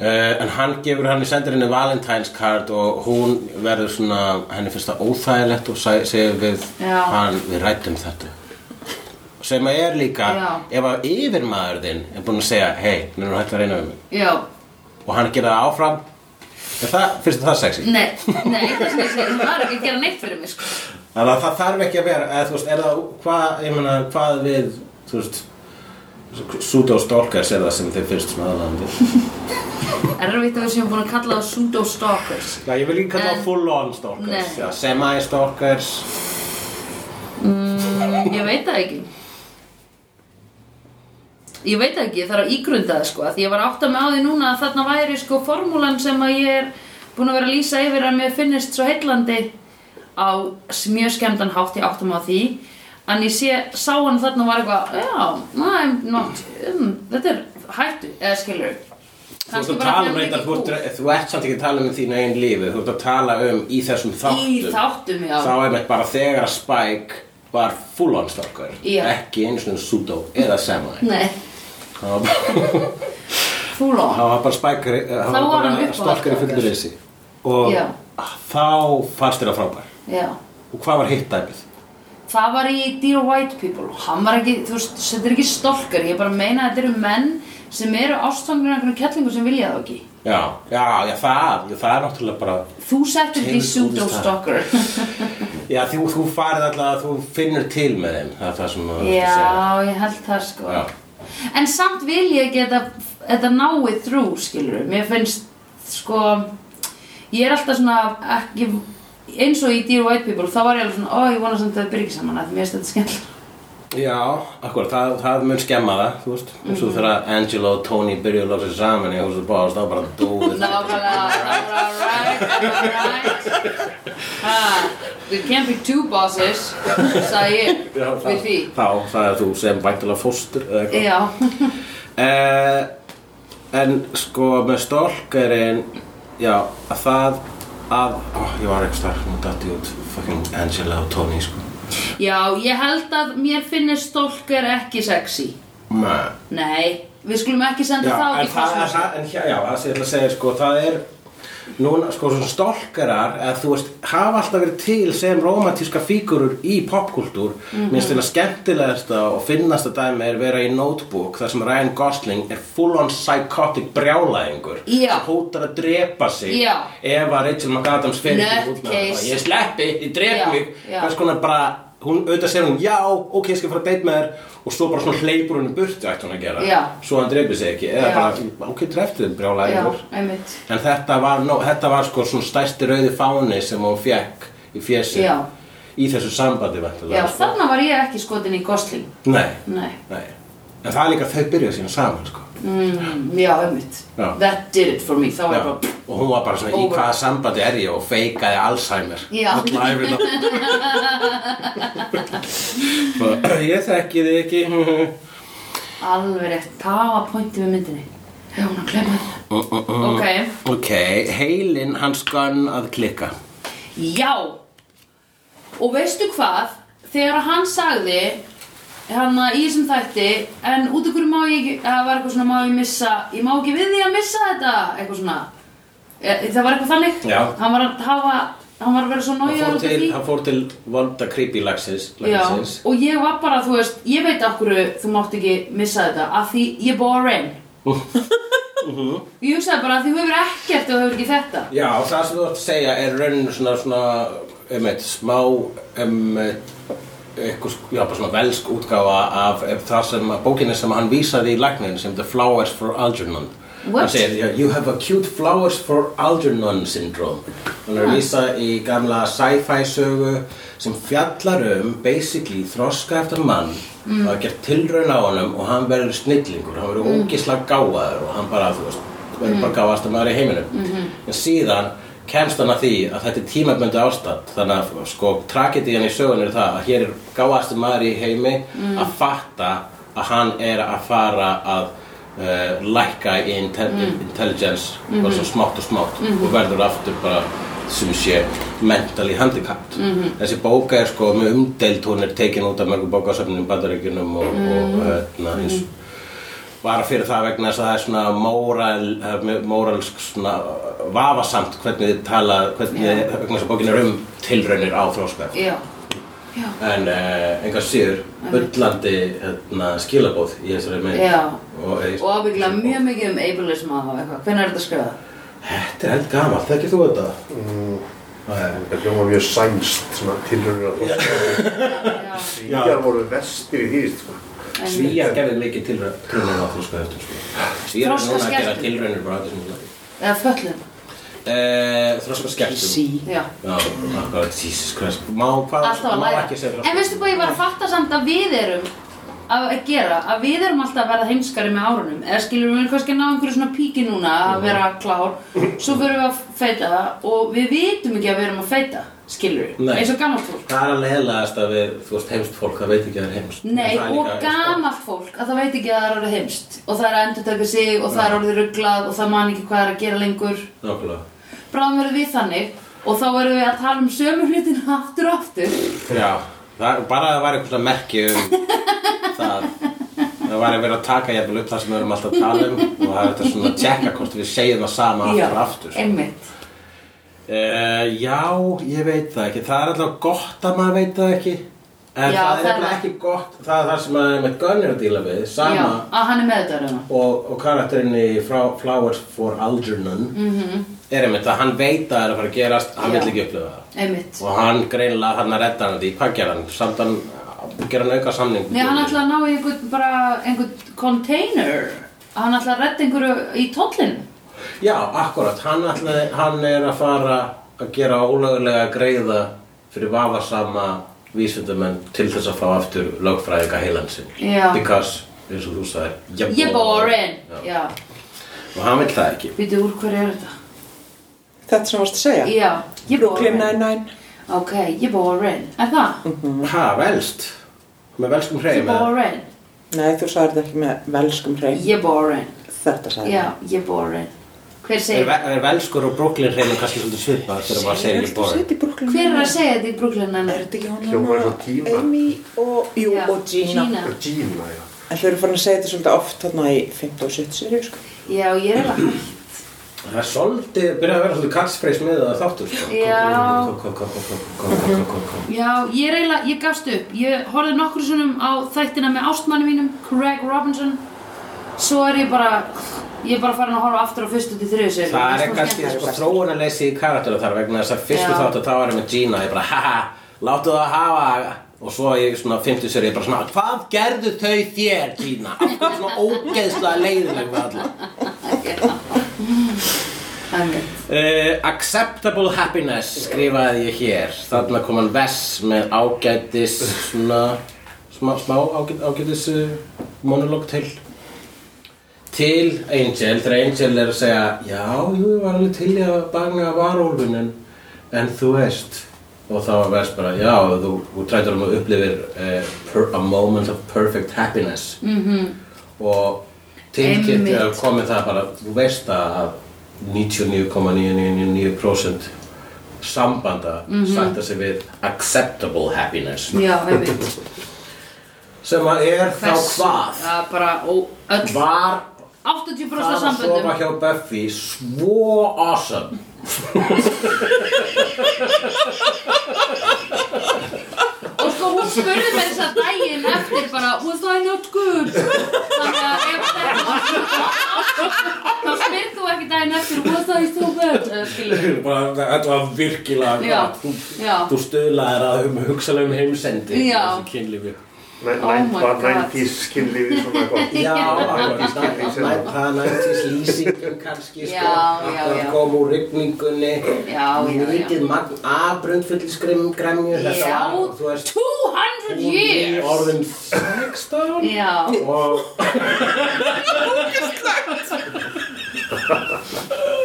S1: Uh, en hann gefur hann í sendirinni Valentine's card og hún verður svona, henni finnst það óþægilegt og seg- segir við
S2: Já.
S1: hann, við rættum þetta. Sem að er líka,
S2: Já.
S1: ef að yfirmaður þinn er búinn að segja, hei, nú erum hægt að reyna við mig.
S2: Já,
S1: Og hann gerir það áfram, er það, finnst þér það sexy?
S2: nei, nei, það sem ég segi, það var ekki að gera neitt fyrir mig sko.
S1: Þannig að það þarf ekki að vera, eða þú veist, er það, hvað, ég meina, hvað við, þú veist, pseudo-stalkers er það sem þið finnst svona aðlandi.
S2: Erfitt að við séum búin að kalla það pseudo-stalkers
S1: Já, ég vil líka kalla
S2: En-
S1: það full-on stalkers,
S2: Nei.
S1: já, semi-stalkers.
S2: Ég veit það ekki Ég veit það ekki, ég þarf að ígrunda það sko af Því ég var átt að með á því núna að þarna væri sko formúlan sem að ég er búin að vera að lýsa yfir að mér finnist svo heillandi á s- mjög skemmtan hátt, ég áttum á því en ég sé, sá hann þarna og var eitthvað já, næm, not, um, þetta er hættu, eða skilur
S1: Þú ert að tala um reyndar, þú ert, þú ert samt ekki að tala um þín eigin lífi, þú ert að tala um í þessum þáttum.
S2: Í þáttum, já.
S1: Þá er meitt bara þegar að Spike var full on stalker,
S2: Já.
S1: ekki einu svona pseudo eða semi.
S2: Nei,
S1: Það var bara,
S2: full on
S1: það var bara Spike, eh,
S2: Þá var
S1: það var
S2: hann
S1: bara
S2: uppáhalds
S1: stalker í fullu
S2: stalker.
S1: reysi. Og
S2: Já.
S1: þá fannst þér að frábær.
S2: Já,
S1: Og hvað var hitt dæmið?
S2: það var í Dear White People Hann var ekki, þú veist, þetta er ekki stolkar Ég bara meina að þetta eru menn sem eru ástfangin af einhvern kettlingu sem vilja það ekki
S1: Já, já, já, það, já, það er náttúrulega bara,
S2: Þú settir því
S1: Heimsókn í stað.
S2: pseudo-stalker
S1: já, þú, þú farið alltaf, þú finnur til með þeim, það er það sem maður að segja.
S2: Já, ég held það sko
S1: Já.
S2: En samt vil ég geta þetta náið þrú, skilur Mér finnst, sko Ég er alltaf svona ekki, eins og í Dear White People þá var ég alveg svona, ó, ég vona samt að það byrja ekki saman að mér finnst þetta skemmt
S1: Já, akkurat, það, það mun skemma það, þú veist mm Svo þegar Angelo og Tony byrjuðu að lóta sér saman í húsu bóðast þá bara dúið það
S2: Nákvæmlega, það var alright, alright Ha, Ah, There can't be two bosses, sagði ég við því
S1: Þá, það er þú sem væntulega fóstur eða eitthvað
S2: Já,
S1: eh, En sko, með stólkerinn, já, að það að ó, Ég var ekki starf, nú dætti út fucking Angelo og Tony, sko
S2: já, ég held að mér finnist stalker ekki sexy
S1: Nei
S2: Nei, við skulum ekki senda
S1: Já,
S2: það
S1: en
S2: út í
S1: það er
S2: kosmosa.
S1: það, en hjá, já, það sem ég ætla að segja, sko, það er núna, sko, svona stólkarar eða þú veist, hafa alltaf verið til sem romantíska fígurur í popkultúr minnst til að skemmtilegasta og finnasta dæmi er vera í notebook þar sem Ryan Gosling er full on psychotic brjálæðingur
S2: Já.
S1: sem hótar að drepa sig
S2: Já.
S1: ef að Rachel McAdams fyrir
S2: Nutcase.
S1: út með það, bara, ég sleppi, ég drep
S2: Já,
S1: mig
S2: já.
S1: hvers konar bara, hún auðvitað segir hún já, ok, ég skal fara að deit með þér og svo bara svona hleypur hún í burtu ætti hún að gera
S2: Já.
S1: svo hann dreipið sig ekki eða
S2: Já.
S1: bara, ok, trefti þeim brjála
S2: Já,
S1: einhver
S2: einmitt.
S1: en þetta var, no, þetta var sko svona stærsti rauði fáni sem hún fekk í fjessi
S2: Já.
S1: í þessu sambandi
S2: Já,
S1: vantilega
S2: þarna var ég ekki skotin í Gosling.
S1: nei,
S2: Nei.
S1: nei en það er líka að þau byrja síðan saman sko
S2: Mm, já, einmitt.
S1: Já.
S2: That did it for me. Þá var
S1: Já.
S2: ég bara...
S1: og hún var bara svona í
S2: Over.
S1: hvaða sambandi er ég og feikaði Alzheimer
S2: Já.
S1: Alla ævina. Bara, ég þekki þig ekki
S2: Alveg rétt. Það var pointið með myndinni. Já, hún að klemma það. Ok.
S1: ok, heilinn hans gann að klikka
S2: Já. Og veistu hvað? Þegar hann sagði, hann í þessum þætti, en út af hverju má ég ekki, það var eitthvað svona, má ég missa, ég má ekki við því að missa þetta, eitthvað svona. E, það var eitthvað þannig.
S1: Já.
S2: Hann var að hafa, hann var að vera svo
S1: hann
S2: nájaður út
S1: fór
S2: af
S1: til,
S2: því.
S1: hann fór til vonda creepy lagsins,
S2: Já,
S1: lagsins.
S2: og ég var bara, þú veist, ég veit af hverju þú mátt ekki missa þetta, af því ég er boring. ég hugsaði bara að því þú hefur ekkert og þú hefur ekki þetta.
S1: Já, það sem þú ert að segja er rauninu svona, svona um eitt smá um eitthvað, já, bara svona velsk útgáfa af um, það sem, bókinni sem hann vísaði í lagnin sem The Flowers for Algernon
S2: What?
S1: Hann segir, já, you have acute flowers for Algernon syndrome Hann er að vísa í gamla sci-fi sögu sem fjallar um basically þroska eftir mann mm. að gera tilraun á honum og hann verður snillingur, hann verður mm. ógislega gáðaður og hann bara, þú veist, verður bara gáðast að maður í heiminum en síðan kemst hann að því að þetta er tímaböndu ástand þannig að sko tragedian í sögun er það að hér er gáðast maður í heimi að fatta að hann er að fara að uh, lækka í inte
S2: Mm.
S1: intelligence
S2: Mm-hmm.
S1: bara svo smátt og smátt og verður aftur bara sem sé mentally handicapped
S2: Mm-hmm.
S1: þessi bóka er sko mjög umdeilt hún er tekin út af mörgum bókasöfnum bandaríkjunum og,
S2: Mm-hmm.
S1: og hérna, eins bara fyrir það vegna þess að það er svona móral, það er mjög móralsk svona vafasamt hvernig þið tala hvernig
S2: Já.
S1: þið, vegna þess að bókin er um tilraunir á þróska
S2: Já, já,
S1: en uh, einhver síður öllandi hérna, skilabóð í þessari mynd
S2: já,
S1: og, eh,
S2: og ábyggla mjög mikið um ableism að hafa eitthvað, hvernig er þetta skrifað?
S1: Þetta er held gaman, þekkir þú þetta?
S2: Mm.
S4: Það hljóma mjög sænst svona tilhörnir að það
S2: Já,
S4: Svíjar voru vestir í því sko.
S2: en-
S1: Svíjar gerði mikið tilraun- tilraunir á þróska eftir sko. Svíjar er núna að gera
S2: Þroskaskertum.
S1: tilraunir bara á þessum lagi
S2: Eða föllum.
S1: uh, Þróska skeptum
S2: Já.
S1: Já, akkurat, Jesus Christ Má, hvað,
S2: Alltaf að
S1: má
S2: læra.
S1: ekki segja
S2: En veistu hvað ég var að fatta samt að við erum að gera að við erum alltaf að verða heimskari með árunum eða skilur við erum kannski að ná einhverju svona píki núna að vera klár svo förum við að feita og við vitum ekki að við erum að feita skilur við,
S1: Nei.
S2: eins og gammalt fólk
S1: Það er að leiðilegast að við, þú veist, heimst fólk, það veit ekki að það er heimst.
S2: Nei,
S1: Það er
S2: og
S1: líka- sko.
S2: gamalt fólk að það veit ekki að það er orðið heimst og það er að endurtaka sig og það er orðið rugglað og það man ekki hvað er að gera lengur
S1: Nákvæmlega.
S2: bráðum verðum við þannig og þá verðum við að tala um sömu hlutin aftur og aftur
S1: Já, það, bara að það væri einhverja merki um það það væri verið að taka jafnvel upp það sem við erum alltaf að tala um og það er þetta svona að tjekka hvort við segjum það sama aftur og aftur
S2: einmitt
S1: uh, Já, ég veit það ekki það er alltaf gott að maður veit það ekki en
S2: Já,
S1: það er
S2: það er
S1: nefnilega
S2: það.
S1: ekki gott það er það sem maður er með gönnir að díla við
S2: Já,
S1: sama
S2: að hann er með þetta hérna. reyna
S1: og, og karakterinn í Fra- Flowers for Algernon -hmm. er einmitt að hann veit að það er að fara að gerast hann
S2: Mhm. Já.
S1: vill ekki upplifa það
S2: einmitt
S1: Og hann greinlega hann að redda hann því, hvað gerði hann? Samt hann gerði hann auka samning
S2: Nei, hann ætlaði að ná í einhvern bara einhvern container hann ætlaði að redda einhverju í tóllinu
S1: Já, akkurat, hann, ætlaði, hann er að fara að gera ólögulega greiða fyrir vafasama vísindumenn til þess að fá aftur lögfræðinga heilan sinn
S2: Já.
S1: Because, eins og þú sagðir ég
S2: Ég borin
S1: Já.
S2: Já,
S1: Og hann vil það ekki
S2: býtu úr hverju er þetta?
S3: Þetta sem varst að segja?
S2: Já, ég
S3: Brooklyn
S2: borin
S3: Nine-Nine.
S2: Ok, ég borin Er það?
S1: Ha, velst Með velskum
S2: Ég
S1: hreim eða?
S2: borin
S3: Nei, þú sagði þetta ekki með velskum hrein.
S2: Ég borin
S3: Þetta sagði
S2: Já, ég borin Hver
S1: Er,
S2: segir
S1: ve- er velskur og Brooklyn hreim kannski svolítið svipað þegar maður segir ég borin
S3: Sitt í Brooklyn
S2: Hver er að
S3: Nine-Nine.
S2: segja þetta í Brooklyn
S3: Er
S2: hennar?
S3: þetta ekki hún
S4: Hljómar
S3: hana-
S4: eins og Gina.
S3: Amy og, jú,
S2: Já,
S3: og Gina.
S2: Gina.
S4: Og Gina, já.
S3: En þau eru farin að segja þetta svolítið oft þarna í 15 og 17 serið, sko.
S2: Já, ég er að
S1: Það er svolítið, byrjaði að vera svolítið katsfreys með það þáttur sko.
S2: Já.
S1: Kom, kom, kom, kom, kom, kom, kom, kom, kom, kom.
S2: Já, ég er eiginlega, ég gafst upp. Ég horfði nokkur sinnum á þættina með ástmanni mínum, Craig Robinson. Svo er ég bara, ég er bara farin að horfa aftur á fyrstu til þriðu sér.
S1: Það er kannski sko, þróunarleysi í karakteru þar vegna þess að fyrstu
S2: Já.
S1: þáttu þá er ég með Gina ég bara haha, láttu það hafa og svo ég svona fymtu sér ég bara svona hvað gerðu þau þér Gina? Af hverju svona ógeðslega leiðileg við alla
S2: Einmitt.
S1: uh, Acceptable happiness skrifaði ég hér þarna kom hann Vess með ágætis svona smá, smá ágæt, ágætis uh, monolog til til Angel þegar Angel er að segja já, jú, ég var alveg til í að banga varólfin en, en þú veist og þá var Vess bara já, þú, þú trættur um að upplifir uh, per, a moment of perfect happiness og tilkynnt
S2: Einmitt.
S1: eða komið það bara, þú veist það að 99,999% sambanda mm -hmm. sætta sig við acceptable happiness
S2: Já, einmitt.
S1: sem að er þá
S2: Hversu-
S1: hvað
S2: Það er bara, ó, öll,
S1: var
S2: 80% af
S1: það að sofa
S2: samböndum.
S1: hjá Buffy svo awesome
S2: Og sko, hún spurði mér þess að daginn eftir bara, was I not good? Þannig að ef þetta var svona, þá spyrð þú ekki daginn eftir, was I so bad? Eh, Skilur.
S1: Bara, þetta var virkilega
S2: Já,
S1: þú,
S2: já.
S1: þú stuðlaðir að um hugsalegum heimsendi
S2: Já.
S1: þessu kynlífi
S4: Næ-
S2: Oh
S4: næ-
S2: my
S4: Var
S2: God.
S4: 90s kynlífi svona gott?
S1: Já, akkurat,
S4: Næ-
S1: það
S4: næ-
S1: næ- það nættist lýsingum kannski sko,
S2: Já, já,
S1: það
S2: já.
S1: kom úr rigningunni,
S2: já, já.
S1: mikið magn aðbrönd fullir skrim, gremju, þetta
S2: Já,
S1: var, þú veist,
S2: 200
S1: hún er
S2: years
S1: orðin 16
S2: Já,
S1: og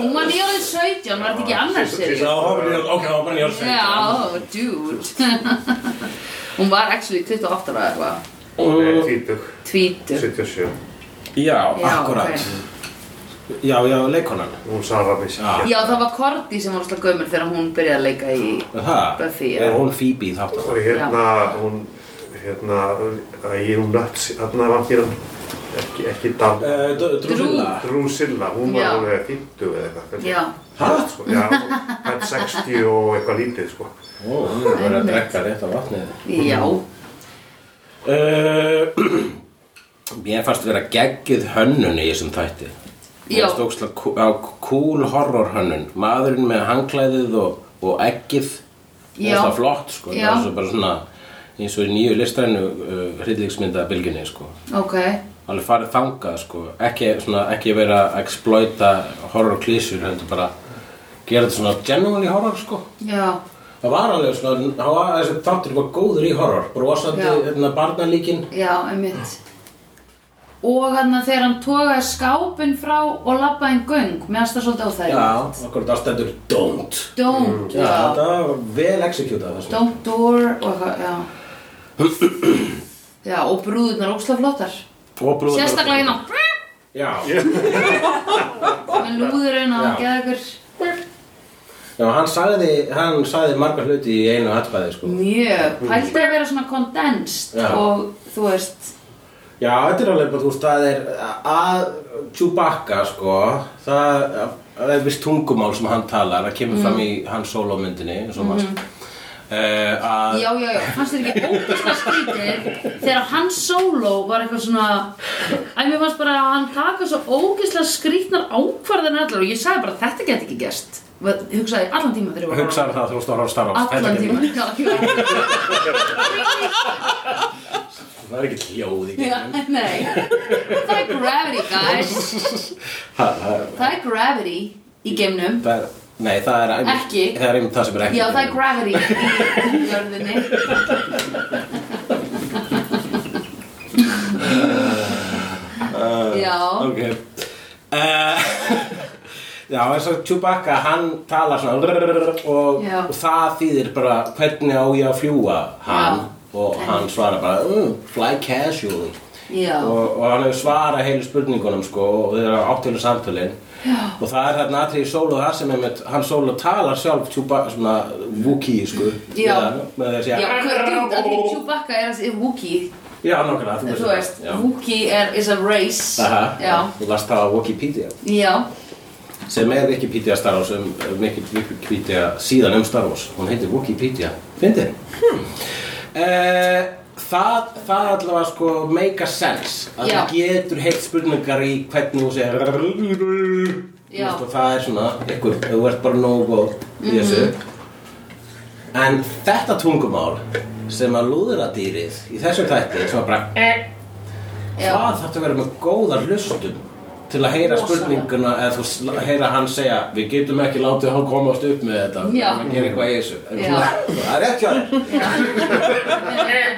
S2: hún var nýjórið 17, var þetta ekki annars sér?
S1: þá hafði ég, ok, þá var bara ég
S2: Já, dude Hún var actually 28 ára eða eitthvað
S4: Nei, tvítug,
S2: Tvítur
S4: 77.
S1: Já,
S2: Já,
S1: akkurat, já, já, leikonan,
S4: Hún Sara Miss.
S1: Já.
S2: Já, það var Korti sem var alltaf gömur þegar hún byrjaði að leika í
S1: það,
S2: Buffy
S1: er hún Phoebe í þáttan?
S4: Og hérna, hún, hérna, að ég er hún nöts, hérna var hér, ekki, ekki Dan.
S1: Uh, Drúla,
S4: Drusilla, hún var
S2: Já.
S4: alveg 50 eða eitthvað. hvernig?
S2: Já,
S1: Hæ?
S4: Sko, Já, hann 60 og eitthvað lítið, sko.
S1: ó, hún er bara að drekka rétt af vatnið
S2: já,
S1: Uh, mér fannst vera geggið hönnun í þessum þætti
S2: Já.
S1: Mér fannst ókslega kú- á cool horror hönnun Maðurinn með hangklæðið og, og eggið
S2: Já.
S1: Það flott sko
S2: Já.
S1: Það var svo bara svona eins og í nýju listrænu uh, hryllingsmynda bylginni sko
S2: ok
S1: Alveg farið þangað sko Ekki, svona, ekki vera að exploita horror klísur Heldur bara gera þetta svona genuinely horror sko
S2: Já,
S1: Það var alveg svona, það var þessi þáttur var góður í horror, brosandi,
S2: Já.
S1: hérna, barnalíkin.
S2: Já, einmitt. Og hann þegar hann togaði skápinn frá og labbaði en göng, mér finnst það svolítið
S1: Já,
S2: óþægilegt.
S1: okkur það stendur don't.
S2: Don't,
S1: Já,
S2: já.
S1: þetta var vel executað þessum.
S2: Don't door og eitthvað, já. Já, og brúðurnar óksla flottar.
S1: Og brúður.
S2: Sérstaklega hérna,
S1: Já,
S2: með lúðurinn að
S1: Já.
S2: geða ykkur.
S1: já, hann sagði, hann sagði margar hluti í einu atkvæði, sko.
S2: Mjög, pældi að vera svona condensed
S1: Já.
S2: og þú veist,
S1: Já, þetta er alveg bara, þú veist, það er að Chewbacca, sko, það það er vist tungumál sem hann talar, það kemur
S2: Mhm.
S1: fram í hans sólómyndinni, eins og maður. Uh, að,
S2: já, já, já, fannst þér ekki ógeðslega skrítið þegar hann solo var eitthvað svona að mér fannst bara að hann taka svo ógeðslega skrítnar ákvarðanir allar og ég sagði bara þetta get ekki gest hugsaði allan tíma þegar ég var að horfa á
S1: hugsaði um það þú veist að horfa á Star Wars
S2: hann. allan
S1: þetta er-
S2: tíma Já, já,
S1: það er ekki hljóð í
S2: já,
S1: gegnum
S2: nei það er gravity guys
S1: Ha, ha,
S2: það er gravity í geimnum
S1: það er, nei það er einmitt-
S2: Ekki.
S1: það er einmitt það sem er ekki
S2: já, það er gravity í jörðinni já
S1: ok uh, já eins og Chewbacca hann talar svona rrrr, og,
S2: Já.
S1: og það þýðir bara hvernig á ég að fljúa hann og hann svarar bara mm, fly casually
S2: Já.
S1: og, og hann hefur svarað heilu spurningunum sko og þeir eru áttölu samtölin Já. og það er þarna atrið í sólu það sem einmitt, hann sólu talar sjálf Chewbacca svona Wookiee sko
S2: Já.
S1: með, með þessi
S2: Já, hvernig, að því Chewbacca er þessi Wookiee
S1: Já, nákvæmlega, þú
S2: Þú veist,
S1: Já.
S2: Wookiee er, is a race
S1: Aha,
S2: Já,
S1: Þú last það á Wikipedia
S2: já,
S1: sem er Wikipedia Star Wars um, um Wikipedia síðan um Star Wars hún heitir Wikipedia, fyndið hmm. eh, það, það allavega sko make a sense að
S2: Já.
S1: þú getur heilt spurningar í hvernig þú segir Þú
S2: Já.
S1: veist, og það er svona ykkur, þú ert bara nógu góð í þessu
S2: Mhm.
S1: en þetta tungumál sem að lúðra dýrið í þessu tætti sem að bara
S2: já
S1: Hvað þarf að vera með góða hlustun til að
S2: Rosalega.
S1: heyra spurninguna eða þú sl- heyra hann segja við getum ekki látið hann komast upp með þetta
S2: Já.
S1: hann gerir eitthvað í þessu En
S2: Já.
S1: svona, það er rétt hjá þér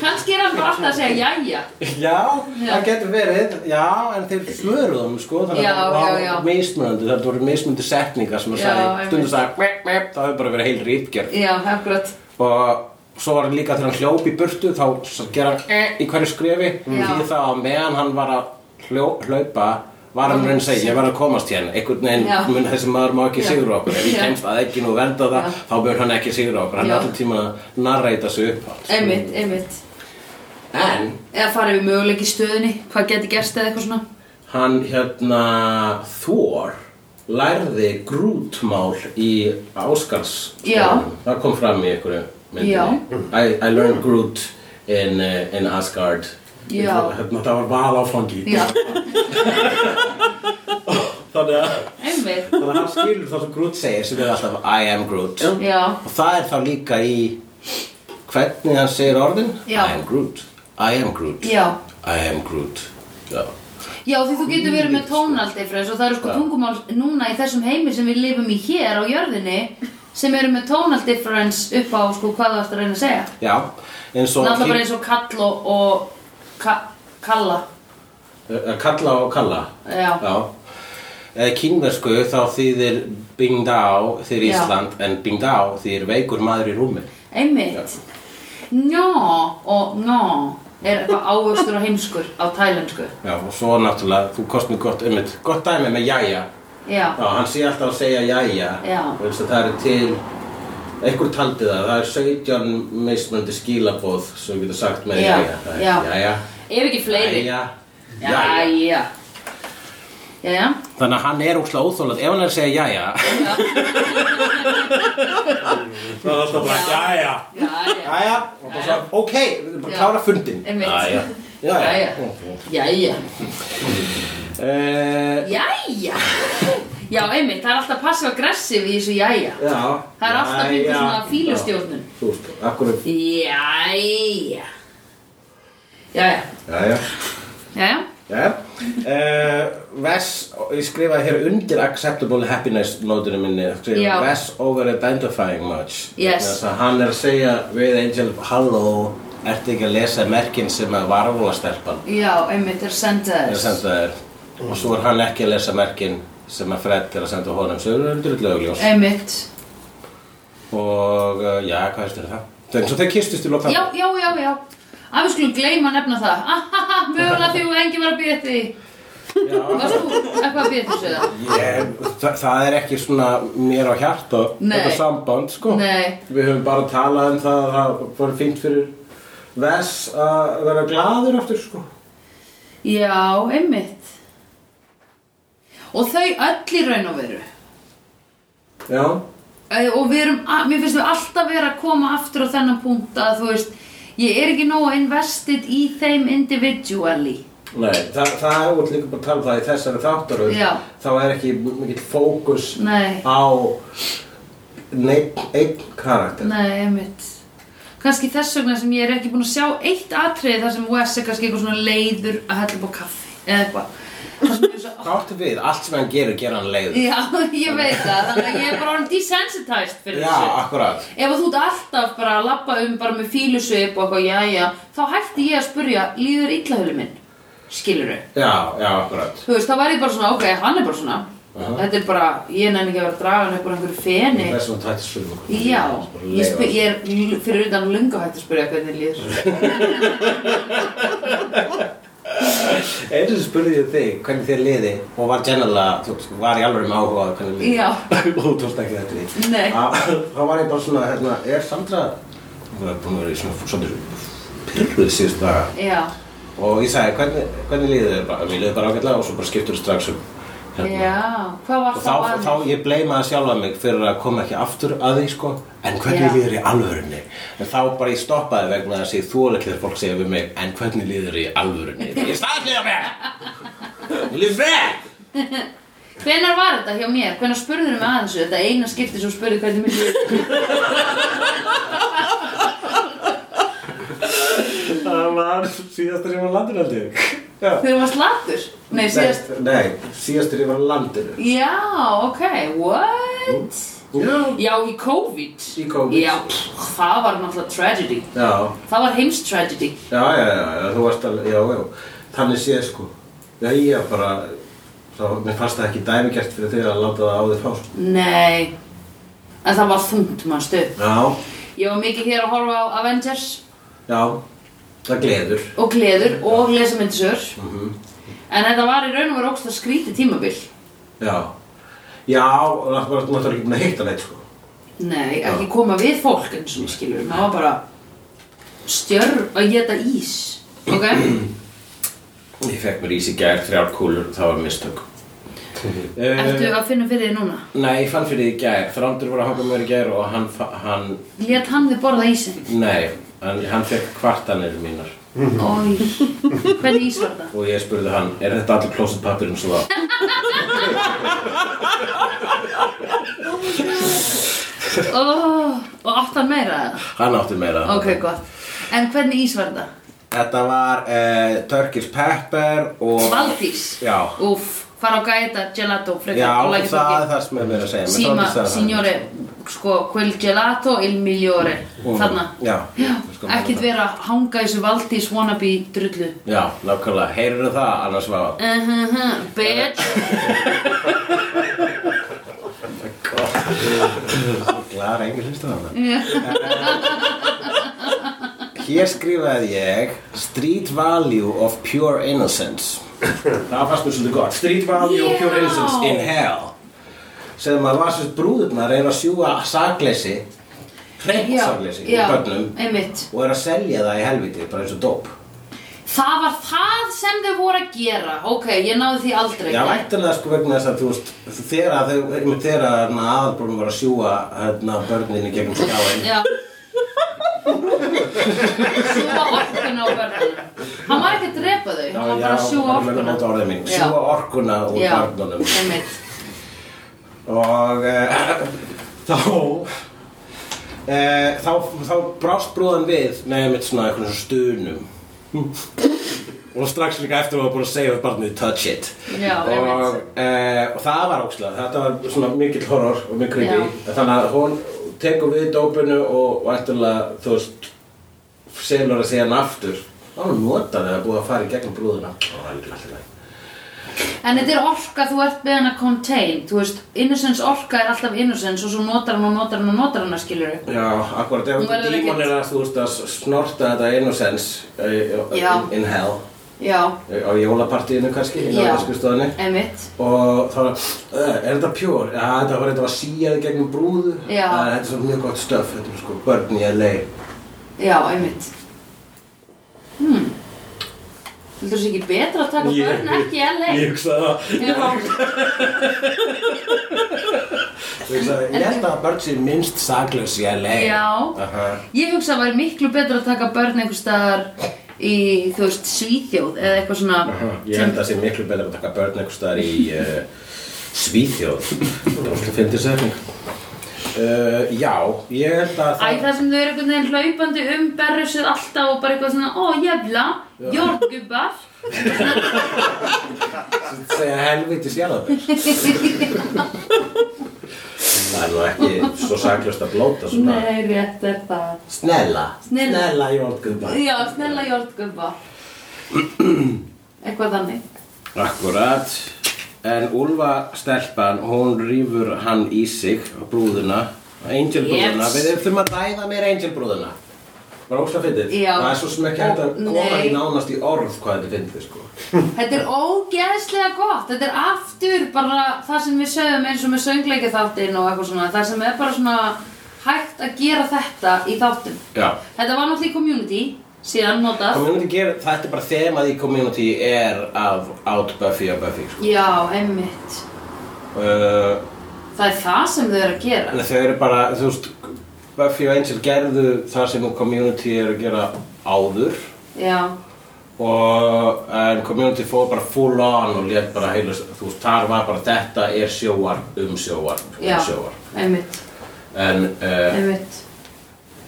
S2: Kannski er hann bara alltaf að segja jæja
S1: já,
S2: Já.
S1: það getur verið já, en þeir svöruðum sko þannig
S2: Já,
S1: að það
S2: já, já.
S1: var mismunandi það voru mismunandi setningar sem að
S2: Já,
S1: sagði
S2: einmitt.
S1: stundum sagði mep, mep, það hefur bara verið heil rítgerð
S2: Já, akkurat
S1: og svo var hann líka þegar hann hljóp í burtu þá s- gera hann eh í hverju skrefi
S2: Já.
S1: því það að meðan hann var að hljó, hlaupa var hann raun að segja ég verð að komast hérna einhvern
S2: Já.
S1: veginn mun þessi maður má ekki
S2: Já.
S1: sigra okkur ef ég
S2: Já.
S1: kemst að ekki nú vernda það
S2: Já.
S1: þá bör hann ekki sigra okkur hann
S2: Já.
S1: er alltaf tíma að narreita sig upp alls.
S2: Einmitt, einmitt
S1: en
S2: Eða farið við möguleik í stöðunni Hvað geti gerst eða eitthvað svona
S1: hann hérna Þór lærði grútmál í Áskars
S2: Já.
S1: það kom fram í einhverju
S2: Já.
S1: I, I learned Groot in, uh, in Asgard
S2: Já.
S1: hérna, það var val áfangi
S2: Já,
S1: þannig að
S2: einmitt
S1: þannig að hann skilur það sem Groot segir sem er alltaf I am Groot
S2: Já,
S1: og það er þá líka í hvernig hann segir orðin
S2: Já.
S1: I am Groot I am Groot
S2: já
S1: I am Groot Já.
S2: Já, því þú getur verið með tónaldi frens og það eru sko
S1: Já.
S2: tungumál núna í þessum heimi sem við lifum í hér á jörðinni sem eru með tonal difference upp á sko hvað þú ert að reyna að segja
S1: Já, eins og
S2: Náttúrulega bara eins og kall og, og ka, kalla
S1: Eh, Kalla og kalla
S2: Já.
S1: Eða kínversku þá þýðir Bing Dao þýðir
S2: Já.
S1: Ísland en Bing Dao þýðir veikur maður í rúmi
S2: Einmitt Njá og njá er eitthvað ávöxtur og heimskur á tælensku
S1: Já, og svo náttúrulega, þú kost mér gott einmitt, gott dæmi með jæja
S2: Já,
S1: Já, hann sé alltaf að segja jæja
S2: Já.
S1: Vegna þess að það er til einhver taldi það, það er 17 mismunandi skilabóð sem við getum sagt með
S2: Já,
S1: jæja Það er
S2: já.
S1: Jæja,
S2: ef ekki fleiri
S1: jæja, jæja
S2: Jæja Jæja
S1: Þannig að hann er úkslega óþólað, ef hann er að segja jæja Það er alltaf bara jæja
S2: Jæja
S1: Jæja, og bara svona, ok, við erum bara að klára fundin
S2: Einmitt.
S1: Jæja,
S2: Jæja
S1: jæja
S2: Jæja
S1: Eh,
S2: Jæja Já, einmitt, það er alltaf passiv-aggressiv í þessu jæja
S1: Já
S2: Það er alltaf
S1: Jæja.
S2: einhver svona fílustjórnun
S1: Já, Þú veist, akkur
S2: Jæja Jæja
S1: Jæja,
S2: Jæja
S1: jæja uh, Vess, ég skrifaði hér undir acceptable happiness nótunum minni
S2: Já.
S1: skrifaði Vess over identifying much
S2: Yes.
S1: Þess að hann er að segja við Angel halló, ertu ekki að lesa merkin sem að varvóla stelpan
S2: Já, einmitt er
S1: er að
S2: sendaðis.
S1: senda þér og svo er hann ekki að lesa merkin sem að Fred er að senda honum sem eru undir lögljós
S2: Einmitt.
S1: og uh, já, hvað er það? Það er eins og þeir kistust í lóta
S2: Já, já, já, já. Að við skulum gleyma að nefna það. Ahaha, mögulega því og engi var að býða eftir því. Varst þú eitthvað að býða eftir þessu það?
S1: Ég, þa það er ekki svona mér á hjarta
S2: Nei.
S1: þetta samband sko
S2: Nei.
S1: Við höfum bara talað um það að það var fínt fyrir Vess að vera gladur aftur sko
S2: Já, einmitt. Og þau öll í raun og veru.
S1: Já
S2: Eh, og við erum, a- mér finnst við alltaf vera að koma aftur á þennan punkt að þú veist ég er ekki nógu invested í þeim individually
S1: Nei, þa það er út líka bara að tala um það í þessari þáttaröð
S2: Já.
S1: þá er ekki mikill fókus
S2: Nei.
S1: á neitt, einn karakter
S2: nei, einmitt kannski þess vegna sem ég er ekki búin að sjá eitt atriði þar sem Wes er kannski eitthvað svona leiður að hella upp á kaffi eða eitthvað Þar sem ég er svo-
S1: Hvað áttu við? Allt sem hann gerir, gerir hann leið
S2: Já, ég veit það, þannig að ég er bara orðin desensitized fyrir
S1: Já,
S2: þessu
S1: akkurat
S2: Ef að þú ert alltaf bara að labba um bara með fílusvip og eitthvað, já, já, þá hætti ég að spurja, líður illahölu minn? Skilurðu?
S1: Já, já, akkurat
S2: Þú veist, þá væri ég bara svona, ok, hann er bara svona
S1: Aha.
S2: Þetta er bara, ég nenni ekki að vera að draga hann upp úr einhverju feni
S1: Þessum tættisum
S2: Já, ég, spu, ég er l- fyrir utan lunga hægt að spyrja hvernig líður
S1: Einu sem spurði ég þig hvernig þér liði og var generala, þú veist, var í alveg með áhuga á hvernig liði
S2: Já.
S1: og þú tókst ekki þetta í
S2: Nei.
S1: Að- Þá var ég bara svona, hérna, er Sandra Hún er búin að vera í svona svolítið pyrruð síðust daga
S2: Já,
S1: og ég sagði, hvernig, hvernig liði þér bara, mér liði bara ágætlega og svo bara skiptur strax um
S2: já, hvað var
S1: Og þá,
S2: það
S1: þá, ég bleimaði sjálfa mig fyrir að koma ekki aftur að því sko En hvernig
S2: Já.
S1: líður í alvörunni? En þá bara ég stoppaði vegna þess að ég þóla ekki þegar fólk segja við mig En hvernig líður í alvörunni? Ég staðlega mig! Ég líður vel!
S2: Hvenær var þetta hjá mér? Hvenær spurður mig aðeins þetta eina skipti sem spurði hvernig mér líður
S1: Það var síðastur ég var á landinu held ég Já.
S2: Þegar maður slappur? Nei, síðast
S1: Nei, nei, síðastur ég var á landinu
S2: Já, ok, what?
S1: Já
S2: Já, í COVID
S1: Í COVID.
S2: Já, það var náttúrulega tragedy
S1: Já,
S2: Það var heims tragedy
S1: já, já, já, já, þú varst alveg, já, já Þannig séð sko Já, ég bara, þá, mér fannst það ekki dæmigert fyrir þig að landa það á þér fá sko.
S2: Nei En það var þungt mannstu
S1: Já,
S2: Ég var mikið hér að horfa á Avengers
S1: já, það gleður
S2: og gleður og lesa myndisör
S1: Mhm.
S2: En þetta var í raun og veru ógst að skríti tímabil
S1: Já, já, og það var náttúrulega ekki búin að hitta neitt sko
S2: Nei, ekki koma við fólk eins og skilur Það var bara stjörn að geta ís Ok?
S1: Ég fekk mér ís í gær, þrjár kúlur, það var mistök
S2: Ertu að finna fyrir þið núna?
S1: Eh, Nei, ég fann fyrir því í gær, Þrándur var að hanga mér í gær og hann, fa- hann
S2: Lét hann þið borða ísinn?
S1: Nei, hann, hann fekk kvartanir mínar
S2: Ói, hvernig ís var það?
S1: og ég spurði hann, er þetta allir klósetpapirinn svo það?
S2: Oh, og átt hann meira það?
S1: Hann átti meira
S2: Ok, gott En hvernig ís var það?
S1: Þetta var uh, Turkish Pepper og
S2: Valdís?
S1: Já.
S2: Úff, fara á gæta gelato frekar
S1: Já,
S2: og lækja
S1: það
S2: fólki.
S1: er það sem er verið að segja mér
S2: Sima,
S1: þótti það-
S2: signore, sko, quel gelato il migliore
S1: Og-
S2: Þarna
S1: Já,
S2: Já,
S1: Sko,
S2: ekkert vera að hanga í þessu Valdís wannabe drullu
S1: Já, nákvæmlega, heyrðu það, annars
S2: Eh.
S1: var
S2: Uh-huh-huh, bitch
S1: Glæðar engin hlustu það
S2: Já.
S1: Eh, Hér skrifaði ég Street Value of Pure Innocence Það fannst mér svolítið gott Street Value of Pure
S2: Já.
S1: Innocence in Hell sem að var sérst brúðurnar er að sjúga sakleysi hreint
S2: Já,
S1: sakleysi í
S2: já,
S1: börnum
S2: einmitt
S1: og er að selja það í helviti bara eins og dóp
S2: Það var það sem þau voru að gera Ok, ég náði því aldrei
S1: Já, ættilega sko vegna þess að þú veist þegar að þau, einmitt þegar að hérna, aðalbrúðum var að sjúga hérna, börninni gegnum skjáin
S2: Já Sjúga orkuna á börnunum Hann var ekki að drepa þau Hann var bara að sjúga
S1: orkuna
S2: orkuna Já.
S1: Sjúga orkuna úr
S2: Já,
S1: barnunum
S2: einmitt
S1: og uh, þá uh, þá, þá brást brúðan við með einmitt svona einhvern svona stunum og strax líka eftir að hún var búin að segja við barnið touch it
S2: Já,
S1: og,
S2: einmitt.
S1: e, og það var ókslega, þetta var svona mikill horror og mjög creepy
S2: Já.
S1: þannig að hún tekur við dópinu og, og eftirlega, þú veist selur að segja hann aftur þá var hún notaði að búið að fara í gegnum blóðina og það er alltaf læg
S2: En þetta er orka, þú ert með hana contained, þú veist, innocence orka er alltaf innocence og svo notar hann og notar hann og notar hann, skilur við.
S1: Já, akkurat, ef
S2: Hún
S1: þú
S2: verður
S1: dímon
S2: ekkert-
S1: er að þú veist að snorta þetta innocence uh,
S2: Já.
S1: in hell
S2: Já,
S1: eh, á jólapartíinu kannski, í
S2: Já.
S1: náðarskustofni
S2: emitt.
S1: og þá var, "Eh, er þetta pjór? Já, þetta var, þetta var síjaði gegnum brúðu
S2: Já.
S1: Eh, Þetta er svo mjög gott stöf, þetta er sko börn í LA
S2: Já, emitt. Hmm. Heldur þessi ekki betra að taka
S1: Ég-
S2: börn ekki í LA?
S1: Ég hugsaði það
S2: Já,
S1: Ég hugsaði, Ég held að börn sé minnst saklaus í LA
S2: já.
S1: Aha.
S2: Ég hugsa að það væri miklu betra að taka börn einhvers staðar í, þú veist, Svíþjóð eða eitthvað svona
S1: Ég held að það sé miklu betur að taka börn einhvers staðar í uh, Svíþjóð Það er alltaf fyndið segning Uh, já, ég held að
S2: Æ, það sem þau eru einhvern veginn hlaupandi um berrusuð alltaf og bara eitthvað svona, ó, jævla, jórgubbar.
S1: segja helviti sjálfur Það er nú ekki svo saklaust að blóta svona
S2: Nei, rétt er það.
S1: Snella
S2: Snella.
S1: Snella jólgubba
S2: Já, snella jórgubba. Eitthvað þannig.
S1: Akkurat En Úlfa stelpan, hún rýfur hann í sig á brúðuna Angel brúðuna,
S2: Yes.
S1: við þurfum að ræða meira Angel brúðuna Bara ósla fyndið
S2: Já.
S1: Það er svo sem ekki hægt
S2: Ó,
S1: að koma
S2: nei.
S1: í nánast í orð hvað þetta er fyndið sko
S2: Þetta er ógeðslega gott. Þetta er aftur bara það sem við sögum eins og með söngleikaþáttinn og eitthvað svona. Það sem er bara svona hægt að gera þetta í þáttum.
S1: Já
S2: Þetta var náttúrulega í community, síðan notað.
S1: Community ger, þetta er bara þemað í community er af out Buffy og Buffy sko
S2: Já, einmitt.
S1: uh,
S2: Það er það sem þau eru að gera.
S1: En þau eru bara, þú veist, Buffy og Angel gerðu það sem community er að gera áður
S2: Já,
S1: og en community fór bara full on og létt bara heilu, þú veist, þar var bara þetta er sjóvarp um sjóvarp um
S2: já,
S1: sjóvarp
S2: einmitt,
S1: en, uh,
S2: einmitt,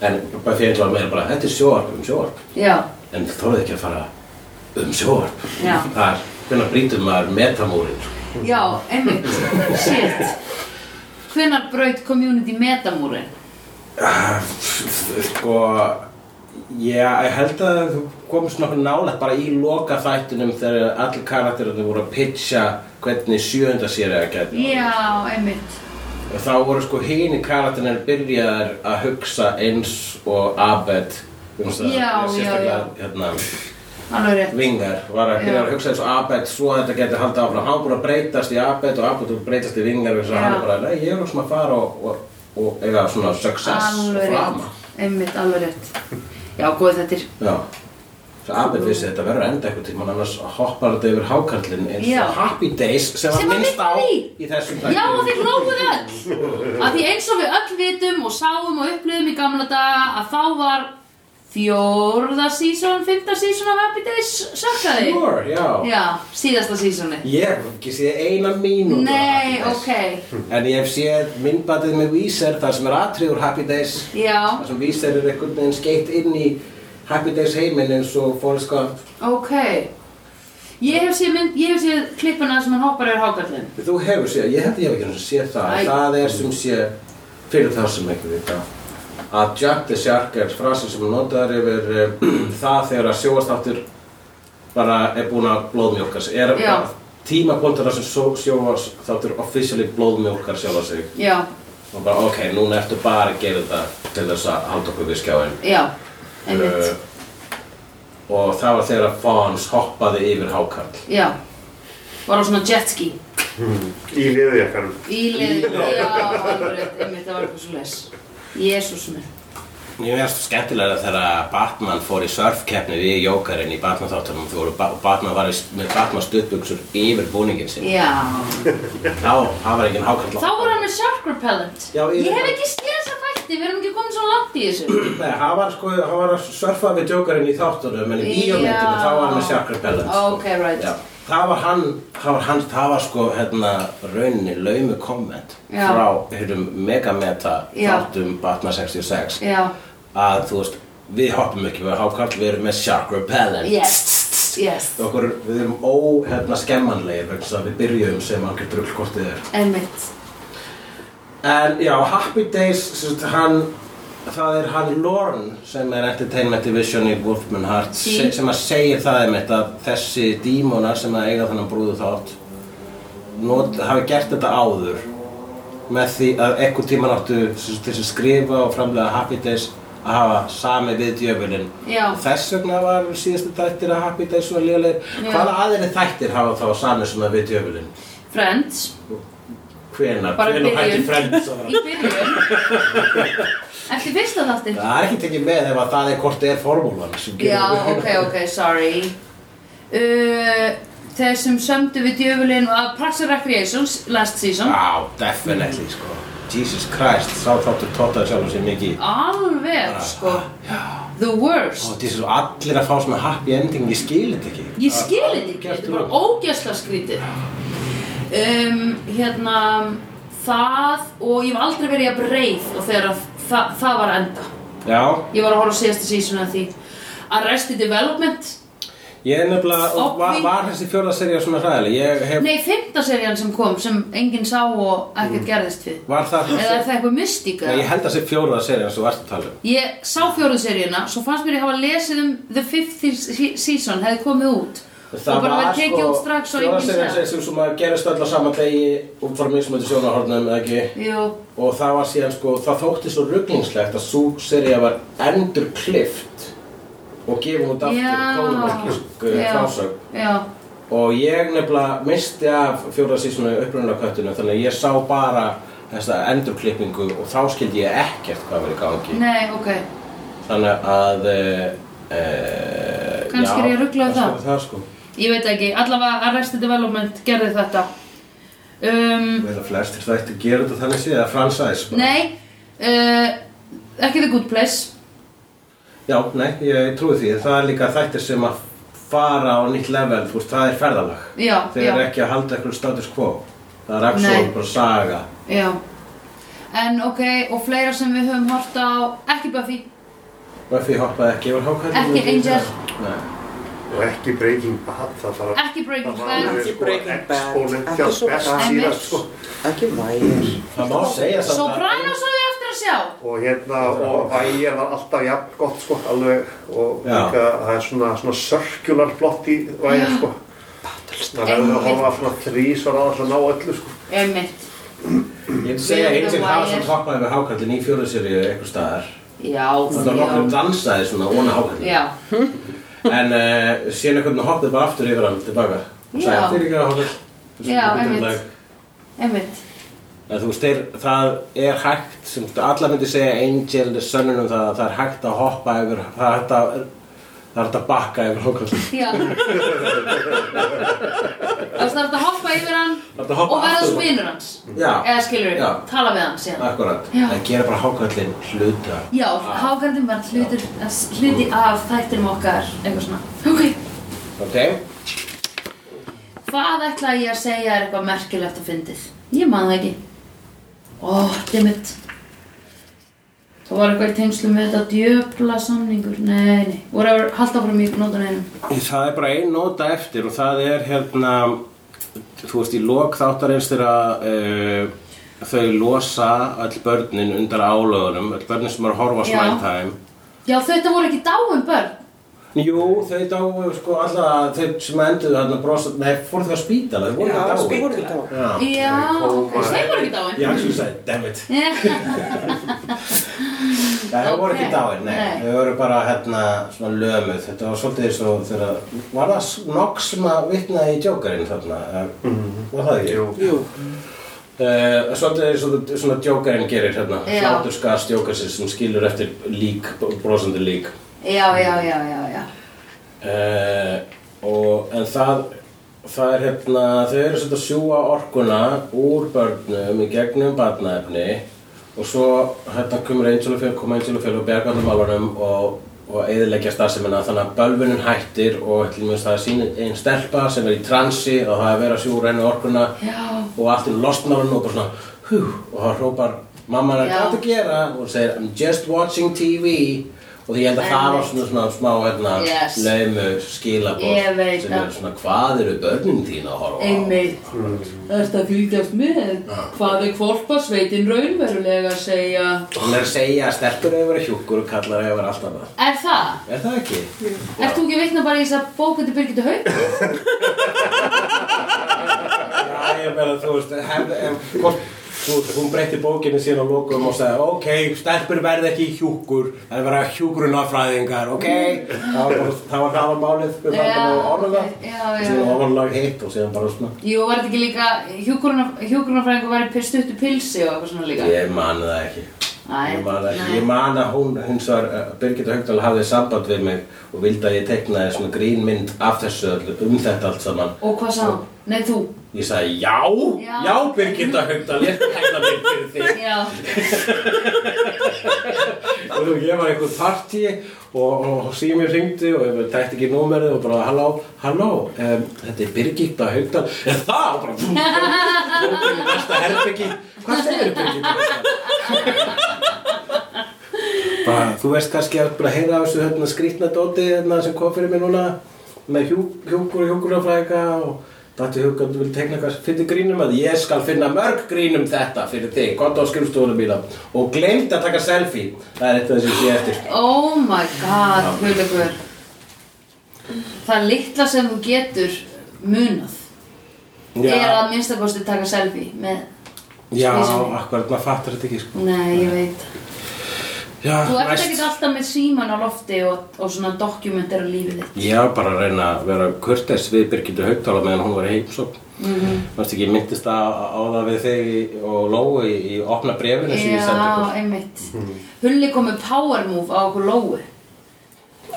S1: en Buffy og Angel var meira bara, þetta er sjóvarp um sjóvarp
S2: já,
S1: en þú þorði ekki að fara um sjóvarp
S2: Já.
S1: það er, hvernig brýtum maður metamúrin sko.
S2: já, einmitt, shit. Hvenær braut community metamúrin?
S1: sko Já, ég held að þú komist nokkuð nálægt bara í loka þættinum þegar allir karakterinu voru að pitcha hvernig sjöunda sér eða gæti orðið.
S2: Já, einmitt,
S1: og þá voru sko hini karakterinu byrjaðar að hugsa eins og Abed um það,
S2: Já,
S1: sérstaklega
S2: já,
S1: hérna,
S2: alveg rétt,
S1: Vingar var að byrja að
S2: Já.
S1: hugsa eins og Abed svo að þetta geti haldið áfram hann búið að breytast í Abed og Abed búið að breytast í Vingar og þess
S2: Já.
S1: að hann er bara, nei, ég er svona að fara og, og, og eiga svona success og
S2: alveg rétt,
S1: frama
S2: einmitt, alveg rétt. Já, góð, þetta er,
S1: Já, svo Abed vissi þetta verður að enda eitthvað tíma annars hoppar þetta yfir hákarlinn eins
S2: Já.
S1: og Happy Days sem var
S2: Sem var
S1: minnst á
S2: minnst
S1: í þessum
S2: já, og
S1: þætti.
S2: þið hlókuð öll. Af því eins og við öll vitum og sáum og upplöðum í gamla daga að þá var fjórða sísón, fymta sísón af Happy Days sökkaði.
S1: Sure, já.
S2: Já, síðasta sísóni.
S1: Ég hef ekki séð eina mínútu af Happy
S2: Nei,
S1: Days.
S2: ok,
S1: En ég hef séð myndbatið með Víser þar sem er atrið úr Happy Days
S2: já,
S1: þar sem Víser er einhvern veginn skeitt inn í Happy Days heiminn eins og Forrest Gump
S2: Ok Ég hef séð, mynd, ég hef séð klippuna sem hann hoppar yfir hákallin
S1: Þú hefur séð, ég held ég hef ekki eins og séð það
S2: Æ.
S1: Það er sem sé fyrir þá sem ekki vita að Jack the Shark er frasi sem notaður yfir uh, það þegar að sjóastáttur bara er búinn að blóðmjólka sig er
S2: Já.
S1: tímapunktur þar sem sjó- sjóastáttur officially blóðmjólkar sjálfa sig
S2: Já,
S1: og bara ok, núna ertu bara að gera þetta til þess að halda okkur við skjáin
S2: já, einmitt
S1: Eh, og það var þegar að Fons hoppaði yfir hákarl
S2: Já Var á svona jetski
S4: Í liðjakkanum.
S2: Í leðinu, já, alveg rétt, einmitt, það var eitthvað svo les Jésús minn
S1: Ég veist skemmtilega þegar Batman fór í surfkeppni við Jókarinn í Batman þáttunum þú voru, og Batman var í, með Batman stuttbuksur yfir búningin sinn.
S2: Já
S1: Þá, það var ekki en hákall.
S2: Þá voru hann með shark repellent
S1: Já, ég-
S2: Ég hef ekki skilað þessa fætti, við erum ekki komin svo langt í þessu
S1: Nei, hann var sko, hann var að surfa með Jókarinn í þáttunum en í bíómyndinu
S2: Já.
S1: þá var hann með Shark Repellent.
S2: Ok, right.
S1: Já. Það var hann, það var hann, það var sko hérna rauninni laumi komment
S2: Já.
S1: frá hérna megameta
S2: Já.
S1: þáttum Batman 66
S2: Já,
S1: að þú veist, við hoppum ekki við hákall, við erum með Shark Repellent.
S2: yes Yes.
S1: Okkur, við erum óhefna skemmanlegir vegna þess að við byrjum sem algjör drull hvort þið er.
S2: Einmitt.
S1: En já, Happy Days, sem sagt, hann, það er hann Lorne sem er Entertainment Division í Wolfman Hearts
S2: Sí.
S1: se- sem að segir það einmitt að þessi dímonar sem að eiga þannig brúðu þátt not, hafi gert þetta áður með því að ekkur tíman áttu sem sagt, til að skrifa og framlega Happy Days að hafa sami við djöfulinn
S2: Já.
S1: Þess vegna var síðastu þættir að Happy Days svona lélegir.
S2: Já.
S1: Hvaða aðri þættir hafa þá sami svona við djöfulinn?
S2: Friends.
S1: Hvenær?
S2: Bara
S1: Hvenær hætti
S2: byrjun.
S1: Friends að vera?
S2: Í byrjun. Eftir fyrsta þáttinn.
S1: Það er ekki tekið með ef að það er hvort er formúlan sem gerir
S2: Já,
S1: það.
S2: ok, ok, sorry. Uh, þeir sem sömdu við djöfulinn og Parks and Recreations last season.
S1: Já, definitely, sko. Jesus Christ, sá þáttur tótaði sjálfum sér mikið.
S2: Alveg, sko.
S1: Ah,
S2: The
S1: Ó,
S2: worst.
S1: þessi svo allir að fá svona happy ending, ég skil þetta ekki.
S2: Ég skil þetta ekki,
S1: Gert
S2: þetta er bara
S1: þú?
S2: ógæsla skrítið. Um, hérna, það og ég hef aldrei verið að breið og þegar að, það, það var að enda.
S1: Já,
S2: Ég var að horfa á síðasta season af því. Arrested Development.
S1: ég er nefnilega,
S2: Og
S1: og var,
S2: því-
S1: var þessi fjórða serið svona hræðileg? Ég hef,
S2: Nei, fymta serían sem kom sem enginn sá og ekkert gerðist við.
S1: Mm. var það,
S2: Eða er það eitthvað mystíka?
S1: nei, ég held að þessi fjórða serið eins og varst að tala um.
S2: Ég sá fjóruð seríuna, svo fannst mér ég hafa lesið um The Fifth Se- Season, hefði komið út. og bara verið
S1: sko,
S2: tekið út strax og
S1: fjórða
S2: enginn
S1: serið
S2: sér.
S1: sem, sem svona gerist öll á sama degi út frá mismöndi sjónarhornum, eða ekki?
S2: Jú,
S1: og það var síðan sko, það þótti svo rugglingslegt að svo serið var endur klift og gefum út aftur
S2: Já.
S1: kólumarkísk
S2: Já.
S1: frásögn
S2: já,
S1: og ég nefnilega misti af fjóra sísonu upprunalega köttinu þannig að ég sá bara þessa endurklippingu og þá skildi ég ekkert hvað var í gangi
S2: nei, ok.
S1: þannig að e,
S2: Kannski er ég rugluð á það.
S1: það sko
S2: Ég veit ekki, allavega Arrested Development gerði þetta. Um,
S1: Vel að flestir þættir gera þetta þannig séð að fransæs
S2: nei, uh, ekki The Good Place.
S1: Já, nei, ég trúi því. Það er líka þættir sem að fara á nýtt level, þú veist, það er ferðalag.
S2: Já,
S1: Þeir
S2: já.
S1: eru ekki að halda eitthvað status quo. Það er actual
S2: Nei.
S1: bara saga.
S2: Já. En ok, og fleira sem við höfum hort á, ekki Buffy,
S1: Buffy hoppaði ekki yfir hákvæðinu.
S2: Ekki Angel.
S1: Nei.
S4: Og ekki Breaking Bad, það þarf að...
S2: ekki Breaking
S4: það var
S2: Bad.
S4: alveg,
S3: Ekki
S4: sko,
S3: Breaking Bad,
S4: Exponential
S3: ekki svo-
S4: best
S2: Einmitt.
S4: síðast, sko.
S3: Ekki vægir.
S1: Það má segja samt
S2: Sopranos á ég eftir að sjá.
S4: Og hérna, og ægir var alltaf jafn gott, sko, alveg. Og
S1: Já.
S4: líka, það er svona, svona circular plott í vægir, sko. Það verður að
S2: Einmitt.
S4: horfa svona þrís og ráða að ná öllu, sko.
S2: Einmitt.
S1: Ég myndi segja að
S2: Við erum
S1: Angel
S2: the
S1: hafa
S2: wire.
S1: samt hoppaði yfir hákvæðinu í fjóðuserju eitthvað staðar.
S2: Já,
S1: Þannig að
S4: um
S1: nokkur
S2: já.
S1: dansaði svona óna hákvæðinu.
S2: Já,
S1: En uh, síðan einhvern veginn hoppaði bara aftur yfir hann tilbaka.
S2: Já.
S1: Sæði, þið er ekki að hoppaði.
S2: Já,
S4: um
S2: einmitt. einmitt.
S1: En þú veist, þeir, það er hægt, sem þú alla myndi segja Angel er sönnunum um það að það er hægt að hoppa yfir, það er hægt að, það er hægt að bakka yfir hókast.
S2: Já. Það er þetta að hoppa yfir hann
S1: Þarftu að hoppa
S2: og verða
S1: aftur.
S2: svo vinur hans.
S1: Já,
S2: Eða skilur við,
S1: Já.
S2: tala við hann síðan.
S1: akkurat.
S2: Já.
S1: Það gera bara hókallin hluta.
S2: Já, hákandinn var hlutur, hluti af þættinum okkar, eitthvað svona. Ok.
S1: Ok?
S2: Hvað ætla ég að segja er eitthvað merkilegt að fyndið? Ég man það ekki. Ó, dimmit. Það var eitthvað í tengslu með þetta djöfla samningur. Nei, nei. Whatever, halda frá mjög nótan einum.
S1: Það er bara ein nota eftir og það er hérna, þú veist, í lok þáttarins þegar uh, þau losa öll börnin undar álögunum, öll börnin sem eru að horfa á
S2: Já.
S1: Smile Time.
S2: Já, þetta voru ekki dáin börn.
S1: Jú, þau dáu sko alltaf, þau sem enduðu hérna brosa, nei, fór þau á spítala, sko, þau voru
S3: Já, sko,
S1: ekki dáu.
S3: spíkur þá.
S1: Já,
S2: Já, ok. Þeir voru ekki dáin.
S1: ég actually sagði, damn it.
S2: Já,
S1: Nei, það voru ekki
S2: Ok.
S1: dáin, nei.
S2: Nei.
S1: Þau voru bara hérna svona lömuð. Þetta var svolítið eins og þegar, var það nokk sem að vitnaði í Jokerinn þarna? Mm Var það ekki?
S4: Jú.
S3: Jú,
S1: Uh, svolítið eins og það- svona Jokerinn gerir hérna.
S2: Já.
S1: Hláturskast Jokersins sem skilur eftir lík, brosandi lík.
S2: já, já, já, já, já.
S1: Uh, og, en það, það er hérna, þau eru svolítið að sjúga orkuna úr börnum í gegnum barnaefni og svo hérna komur Angel og Phil, koma Angel og Phil og berga allir málunum og, og eðileggja starfsemina þannig að bölvunin hættir og til mjög það er sín einn stelpa sem er í transi og það er verið að sjúga henni orkuna
S2: Já.
S1: og allt er lostnar henni og bara svona hú og það hrópar mamma
S2: Já.
S1: hennar hvað ertu að gera og hún segir I'm just watching TV Og því ég held að það var svona, svona smá hérna,
S2: Yes.
S1: laumu skilabóð
S2: Ég veit
S1: sem er
S2: að-
S1: svona hvað eru börnin þín að horfa á?
S5: Einmitt, það er að fylgjast með hvað er kvolpasveitin raunverulega að segja
S1: Hún er að segja að stelpur hefur verið hjúkur og kallar hefur verið allt annað.
S2: Er það?
S1: Er það ekki?
S2: Ert þú ekki vitna bara í þess að bókundi Birgitta Haug?
S1: Já, ég meina, þú veist, hef, hef, hvort, þú, hún breytti bókinni síðan á lokum og sagði, ok, stelpur verði ekki hjúkur, það er verið að hjúkurunafræðingar, ok? Það var, bara- það var hafa málið, við
S2: Já,
S1: varum að orða það.
S2: ok, já, já.
S1: Síðan ofanlag hitt og síðan bara svona.
S2: Jú, var þetta ekki líka hjúkurunafræðingur væri pil- stuttur pilsi og eitthvað svona líka?
S1: Ég man það ekki.
S2: Nei,
S1: Ég man, það ekki.
S2: nei.
S1: ég man að hún, hins var, Birgitta Haugdal hafði samband við mig og vildi að ég teknaði svona grínmynd af þessu öllu, um þetta allt saman.
S2: Og hvað sá? Nei, þú.
S1: Ég sagði já,
S2: Já.
S1: já, Birgitta Haugdal, ég tekna mynd fyrir þig.
S2: Já,
S1: og þú, ég var í einhver partí og, og sími ringdi og ég tætti ekki númerið og bara halló, halló, um, þetta er Birgitta Haugdal, er það? Og bara búm, búm, búm, næsta herbyggi, hvað segir Birgitta Haugdal? bara, þú veist kannski að bara heyra á þessu hérna, skrýtna dóti hérna, sem kom fyrir mig núna með hjúk, hjúkur og hjúkurafræðika og Datti Hugand vil tegna eitthvað fyrir grínum að ég skal finna mörg grínum þetta fyrir þig, gott á skrifstofunum mína og glemt að taka selfie, það er eitthvað sem ég sé eftir.
S2: oh my god, Guðlegur. Það litla sem þú getur munað er að minnsta kosti taka selfie með...
S1: Já,
S2: Vísunni.
S1: akkurat, maður fattar þetta ekki, sko.
S2: Nei, ég veit.
S1: Já,
S2: Þú ert ekkert alltaf með síman á lofti og, og svona dokumentar á lífið þitt.
S1: Ég var bara að reyna að vera kurteis við Birgitta Haugdala meðan hún var í heimsókn. Mm
S2: Mhm.
S1: -hmm. Varst ekki, ég myndist á, á það við þig og Lóu í, í opna brefinu sem ég sendi
S2: Já,
S1: ykkur. Mm.
S2: einmitt. Hulli kom með power move á okkur lóu.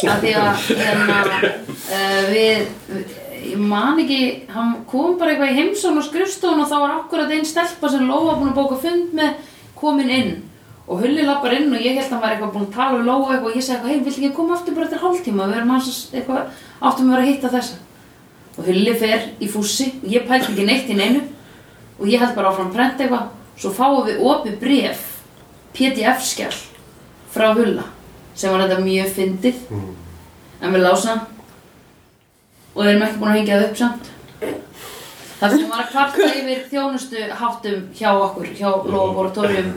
S2: Af því að hérna, uh, við, við, ég man ekki, hann kom bara eitthvað í heimsón og skrifstofun og þá var akkurat einn stelpa sem Lóa búin að bóka fund með komin inn. Og Hulli lappar inn og ég held að hann var eitthvað búin að tala við Lóa eitthvað og ég segi eitthvað, hei, vill ekki koma aftur bara eftir hálftíma, við erum hans eitthvað, áttum við að vera að hitta þessa. Og Hulli fer í fússi og ég pælt ekki neitt í neinu og ég held bara áfram að prenta eitthvað svo fáum við opið bref pdf-skjall frá Hulla sem var þetta mjög fyndið en við lása og erum ekki búin að hengja það upp samt það sem var að kvarta yfir þjónustu háttum hjá okkur hjá Laboratorium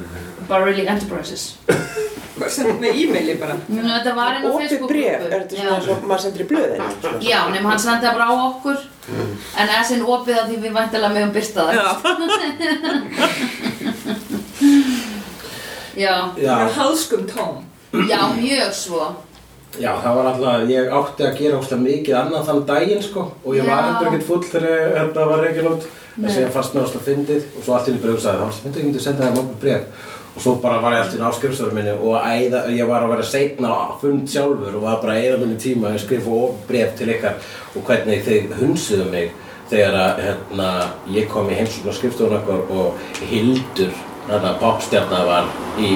S2: Barrelli Enterprises
S3: Send með e-maili bara.
S2: Mjö, þetta var einn á
S3: Opið bref, er þetta svona
S2: Facebook-grúpu
S3: svo maður sendir í blöðin?
S2: Já. já, nema hann sendi það bara á okkur en essin opið að því við væntalega meðum byrta það já.
S1: Já,
S6: Bara halskum tóm
S2: Já, mjög svo.
S1: já, það var alltaf, ég átti að gera óslega mikið annað þann daginn, sko. Og ég var
S2: Já.
S1: heldur ekkert full þegar ég- hérna var reikin út.
S2: Nei.
S1: Þessi ég fannst með óslega fyndið og svo allt í henni bref sagði, það var fyndið ekki myndið að senda það mjög bref. Og svo bara var ég allt í henni á skrifstofunum minni og æða, ég var að vera seinna á fund sjálfur og var bara að eyða minni tíma að skrifa of bref til ykkar og hvernig þið hunsuðu mig þegar að hérna, ég kom í heimsókn á skrifstofunum okkar og Hildur, þarna bákstjarna var í,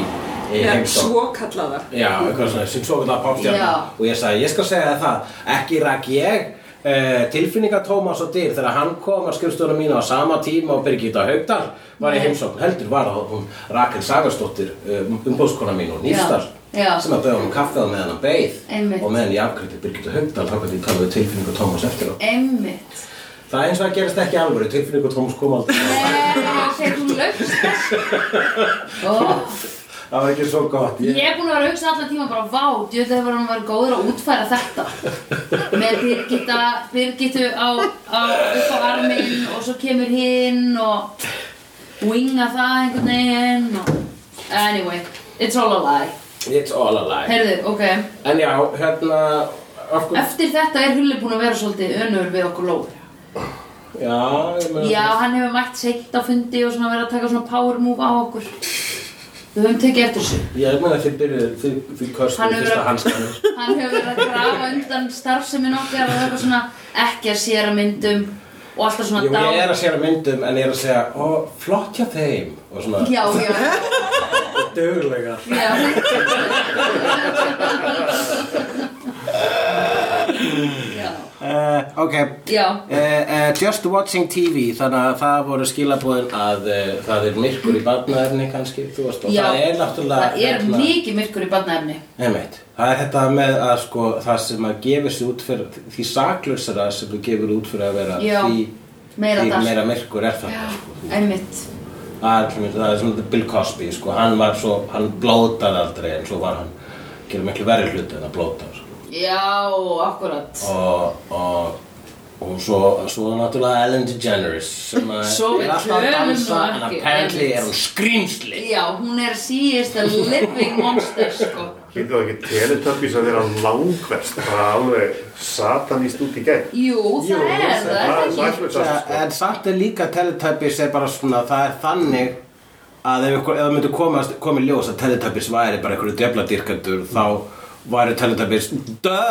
S1: í
S6: Eða
S1: heimsókn.
S6: svo kallaða
S1: Já, eitthvað svona, sem svo kallar popstjarna
S2: Já.
S1: og ég sagði, ég skal segja þér það, ekki rak ég uh, tilfinninga Tómas og Dyr þegar hann kom að skrifstofuna mína á sama tíma og Birgitta Haugdal var í heimsókn heldur var að hún Rakel Sagarsdóttir um, umbóðskona mín og nýstar
S2: Já, já.
S1: sem að bauða hún kaffið meðan hann beið
S2: Einmitt.
S1: og meðan ég afgriði Birgitta Haugdal þá gæti ég talað við tilfinninga Tómas eftir á
S2: Einmitt.
S1: Það er eins og að gerist ekki alvöru, tilfinninga Tómas kom aldrei
S2: Nei, þegar þú lögst þess. Ó,
S1: Það var ekki svo gott
S2: Ég er búin að vera að hugsa allan tíma bara, vá, djöðu hefur hann verið góður að útfæra þetta. Með Birgitta, Birgittu á, á, upp á arminn og svo kemur hinn og winga það einhvern veginn og... Anyway, it's all a lie.
S1: It's all a lie
S2: Heyrðu, ok.
S1: En já, hérna, af hverju
S2: Eftir þetta er Hulli búin að vera svolítið önur við okkur lóður.
S1: Já, ég meina
S2: Já, hann hefur mætt seitt á fundi og svona verið að taka svona power move á okkur. Við höfum tekið eftir þessu.
S1: Ég meina þið byrjuðu, þið, þið
S2: Hann
S1: köstuðu
S2: hefur
S1: fyrsta
S2: verið-
S1: hanskanu.
S2: Hann hefur verið að grafa undan starfsemin okkar og eitthvað svona ekki að séra myndum og alltaf svona
S1: Jú, ég er að segja myndum en ég er að segja, ó, flott hjá þeim. Og svona,
S2: Já, já,
S1: dögulega.
S2: já. já.
S1: Eh, Ok
S2: Já.
S1: Eh, eh, Just watching TV Þannig að það voru skilabóðin að uh, það er myrkur í barnaefni kannski Þú veist og
S2: Já,
S1: það er náttúrulega
S2: það
S1: hérna-
S2: er mikið myrkur í barnaefni
S1: Einmitt. Það er þetta með að sko, það sem að gefur sér út fyrir, því saklausara sem þú gefur út fyrir að vera
S2: Já,
S1: því,
S2: meira
S1: því
S2: það.
S1: meira myrkur er það.
S2: Já,
S1: Sko.
S2: einmitt
S1: Það er, til dæmis- það er svona Bill Cosby, sko, hann var svo, hann blótaði aldrei en svo var hann, gerði miklu verri hluti en að blóta. Sko.
S2: Já, akkurat
S1: Og, og, og svo, svo náttúrulega Ellen DeGeneres sem að
S2: Svo við
S1: er alltaf að
S2: tölum nú
S1: dansa en
S2: ekki,
S1: apparently
S2: einmitt.
S1: er hún skrýmsli.
S2: Já, hún er síðist a living monster sko
S5: Hýttu það ekki teletöppi sem þeirra langverst, bara alveg satanist út í gegn.
S2: Jú, það er það, er það
S5: Það
S2: ekki
S5: er svolítið
S1: Já,
S5: satt,
S1: en samt er líka Teletubbies er bara svona, það er þannig að ef, ykkur, ef það myndi komast, komið ljós að Teletubbies væri bara einhverju djöfladýrkendur þá væri Teletubbies DÖ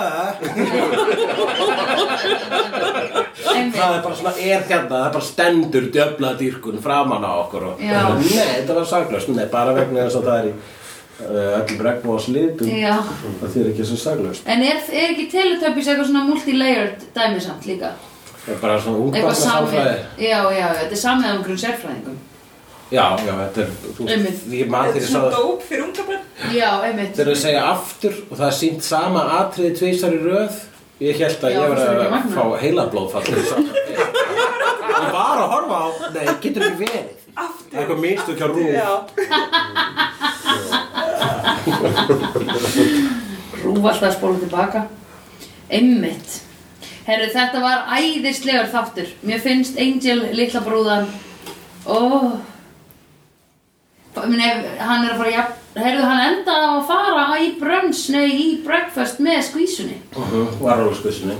S1: það er bara svona er hérna, það er bara stendur djöfladýrkun framan á okkur og,
S2: Já.
S1: og nei, þetta var saklaust, nei, bara vegna þess að það er í uh, öllum regnbú og slitum
S2: Já.
S1: það þýr ekki sem saklaust
S2: En er, er ekki Teletubbies eitthvað svona multi-layered dæmi samt líka?
S1: það er bara svona
S2: Eitthvað
S1: ungbarnar
S2: samið
S1: sálfræði
S2: Já, já, já, þetta er samið á einhverjum sérfræðingum
S1: já, já, þetta er, þú
S2: Einmitt.
S1: ég maður þegar
S3: Þetta er
S1: ég sá
S3: svona
S1: það
S3: dóp fyrir unga börn.
S2: Já, einmitt
S1: Þegar þau segja aftur og það er sínt sama atriði tvisar í röð Ég held að
S2: Já, það er
S1: ég var
S2: ekki
S1: að
S2: magnað.
S1: fá heila blóðfall Ég var að horfa á Nei, getur ekki verið Það er eitthvað mistu ekki á rúf
S3: Já.
S2: Rúf alltaf að spóla tilbaka Einmitt Herru, þetta var æðislegur þáttur Mér finnst Angel litla brúðan Ó Minn ef hann er að fara jafn Herru, hann enda á að fara í brunch Nei, í breakfast með skvísunni
S1: Var alveg skussinni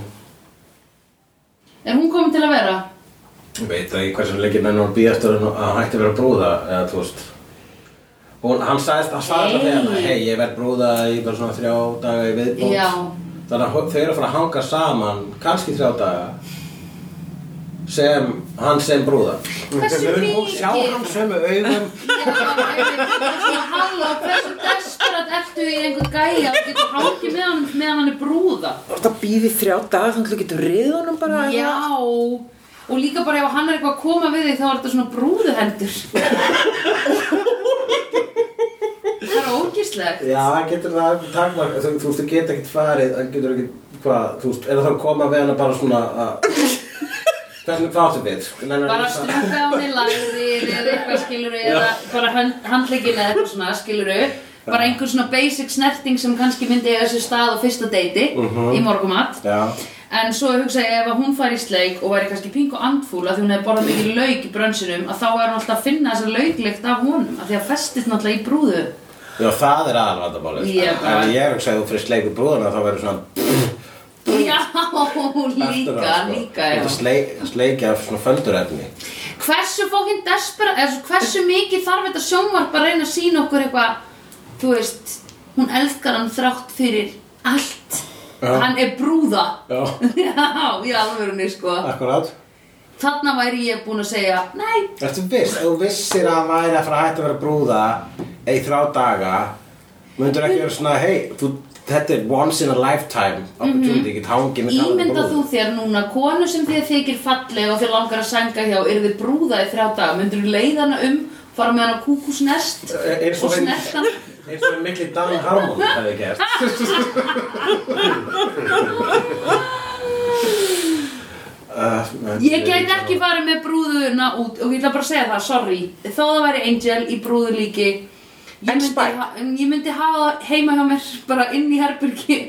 S2: Er hún komin til að vera?
S1: Ég veit að í hversu leikinn henni var býðast að hann hætti að vera brúða eða þú veist Hún, hann sagðist, hann sagði
S2: Hey.
S1: alltaf þegar hann, hei, ég verð brúða í bara svona þrjá daga í viðbót
S2: Já.
S1: Þannig að hó- þau eru að fara að hanga saman, kannski þrjá daga sem, hann sem brúða
S2: Hversu mikið?
S1: Hún sjá hann sömu augum
S2: Halló, hversu desperat ertu í einhver gæja og getur hangið með hann meðan hann er brúða?
S3: Þú ert að býði þrjá daga þannig að þú getur riðið honum bara.
S2: Já, og líka bara ef hann er eitthvað að koma við þig þá er þetta svona brúðuhendur. það er ógíslegt.
S1: Já, það getur það takmark þú, þú veist, þú getur ekkert farið það getur ekkert hvað, þú veist, er það að koma við hana bara svona að hvernig fátum við? Nei, nei,
S2: Bara
S1: nei,
S2: strökka á mig lagðir eða eitthvað skiluru eða bara hönd- handlegginn eða eitthvað svona skiluru. Bara einhver svona basic snerting sem kannski myndi eiga þessu stað á fyrsta deiti í morgumat.
S1: Já,
S2: En svo hugsa ég ef að hún fær í sleik og væri kannski pingu andfúl að því hún hefði borðað mikið lauk í brönsinum að þá er hún alltaf að finna þessa laukleikt af honum að því að festist náttúrulega í brúðu
S1: Já, það er aðalvandamálið sko.
S2: Ég bara-
S1: En ég hugsa að þú fyrir sleikur brúðuna þá verður svona
S2: Já,
S1: eftir
S2: líka,
S1: á, sko.
S2: líka,
S1: Þú getur
S2: já
S1: sleik, sleikja af svona földurefni
S2: Hversu fókin despera, eða svo hversu mikið þarf þetta sjónvarp að reyna að sína okkur eitthvað Þú veist, hún elskar hann þrátt fyrir allt
S1: Já.
S2: Hann er brúða
S1: Já,
S2: Já, í alvörunni sko
S1: akkurát
S2: Þarna væri ég búin að segja, nei,
S1: Ertu viss, ef þú vissir að hann væri að fara að hætta að vera brúða í þrjá daga myndur ekki vera svona, hei, þú, þetta er once in a lifetime opportunity, ekki hangið með talandi
S2: Ímynda
S1: brúðu.
S2: Mhm. þú þér núna konu sem þér þykir falleg og þér langar að sænga hjá er þið brúða í þrjá daga, myndur þú leið hana um fara með hana á kúkusnest
S1: Eh, eins og
S2: og
S1: ein-
S2: snert hana
S1: eins og mikli Dan Harmon hefði gert uh, nei,
S2: Ég gæti ekki farið með brúðuna út og ég ætla bara að segja það, sorry þó það væri Angel í brúðulíki ég
S3: En
S2: myndi,
S3: Spike?
S2: ha- ég myndi hafa það heima hjá mér bara inn í herbyrgi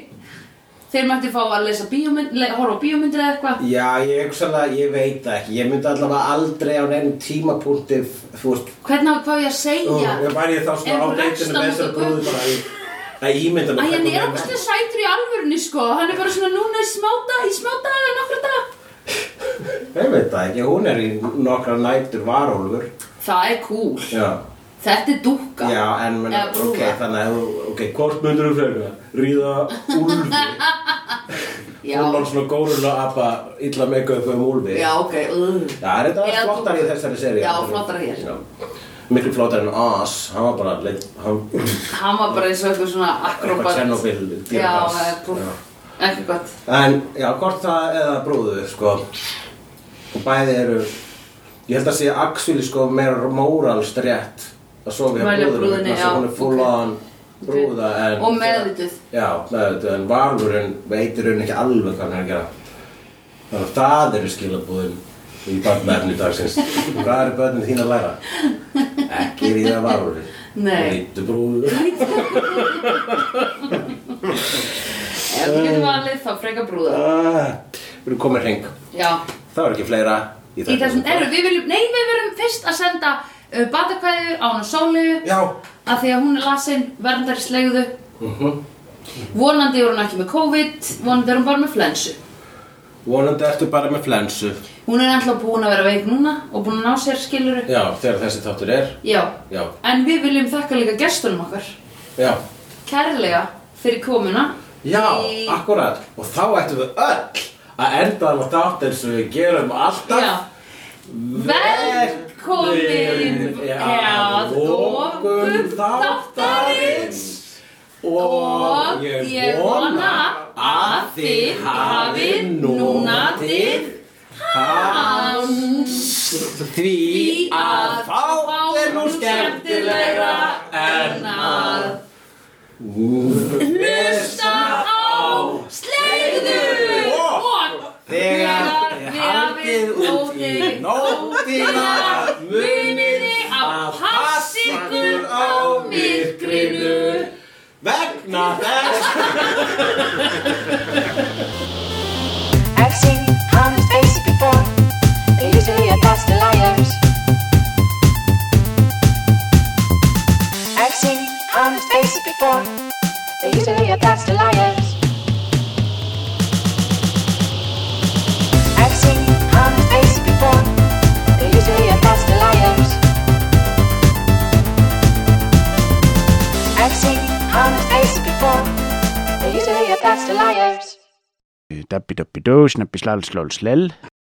S2: þeir mætti fá að lesa bíómynd le- horfa á bíómyndir eða eitthvað
S1: Já, ég hugsaðlega, ég veit það ekki Ég myndi allavega aldrei á neinum tímapunkti Þú veist,
S2: hvernig á- hvað á ég að
S1: og
S2: segja
S1: ég væri þá
S2: Ef
S1: svona á
S2: hún rekst
S1: deitinu
S2: á
S1: með
S2: móti
S1: þessar
S2: götu.
S1: brúðu bara í- að
S2: Æ,
S1: ímynda mér
S2: en
S1: hvernig
S2: ég er
S1: hún
S2: ógstlega sætur í alvörunni, sko. Hann er bara svona núna í smá dag, í smá dag, í nokkra dag.
S1: Ég veit það ekki, hún er í nokkra nætur varólfur
S2: Það er cool.
S1: Já,
S2: Þetta er dúkka.
S1: já en menn,
S2: Eða brúða.
S1: ok, þannig að þú- Ok, hvort myndur þú frekar? Ríða úlfi
S2: Já.
S1: Hún var svona górun að apa illa meika upp um úlfi
S2: Já, ok. Uh.
S1: Já, er þetta
S2: Eða
S1: flottar í
S2: dúkku.
S1: þessari seri?
S2: Já, flottara hér.
S1: Miklu flottar en Oz, hann var bara leitt, hann
S2: Hann var bara eins og eitthvað svona
S1: Eitthvað
S2: akrobat.
S1: Tjernobyl
S2: Já,
S1: dýragas.
S2: eða brú-
S1: Já.
S2: ekki gott
S1: En já, hvort það eða bróður sko og bæði eru ég held að sé Axel sko meira móralst rétt að sofa hjá
S2: Mæla
S1: bróðurum
S2: brúðinni,
S1: vegna þess
S2: já,
S1: að hún er full
S2: ok.
S1: on brúða en
S2: Og meðvituð.
S1: Já, meðvituð en valurinn veitir hún ekki alveg hvað hann er að gera Þannig að það eru skilabúðin í barnverðinu dagsins Hvað eru börnin þín að læra? Ekki ríða varurinn
S2: Nei.
S1: Veitu brúður
S2: Ef þú getur valið þá freka brúða
S1: Ah, Við erum komin hring
S2: Já
S1: Það var ekki fleira í
S2: Í þessum,
S1: þættinum.
S2: eru, við viljum, nei við verum fyrst að senda uh, batakvæðu á hana sólu
S1: Já,
S2: að því að hún er lasin verndari slegðu
S1: Mhm.
S2: Vonandi er hún ekki með COVID, vonandi er hún bara með flensu
S1: vonandi ertu bara með flensu
S2: Hún er alltaf búin að vera veik núna og búin að ná sér skiluru
S1: Já, þegar þessi þáttur er
S2: Já
S1: Já,
S2: En við viljum þakka líka gestunum okkar
S1: já
S2: Kærlega fyrir komuna
S1: Já,
S2: Í-
S1: akkurat Og þá ættum við öll að enda þannig þátt eins og við gerum alltaf
S2: Já Velkomin
S1: að okkur þáttarins
S2: Og ég vona að þið hafið núna þið hans
S1: Því að
S2: að
S1: fátt er nú skemmtilegra en að
S2: Hlusta á slegðu
S1: Og
S2: og
S1: Þegar þið haldið út í nóttina muniði að passa ykkur á myrkrinu vegna þess
S6: I've seen honest faces before. They're usually a pass to liars. I've seen honest faces before. They're usually a pass to liars. I've seen honest faces before. They're usually a pass to liars. I've seen honest faces before. They're usually a pass to liars.
S4: Dabbi dabbi do, snabbi slal slal slel.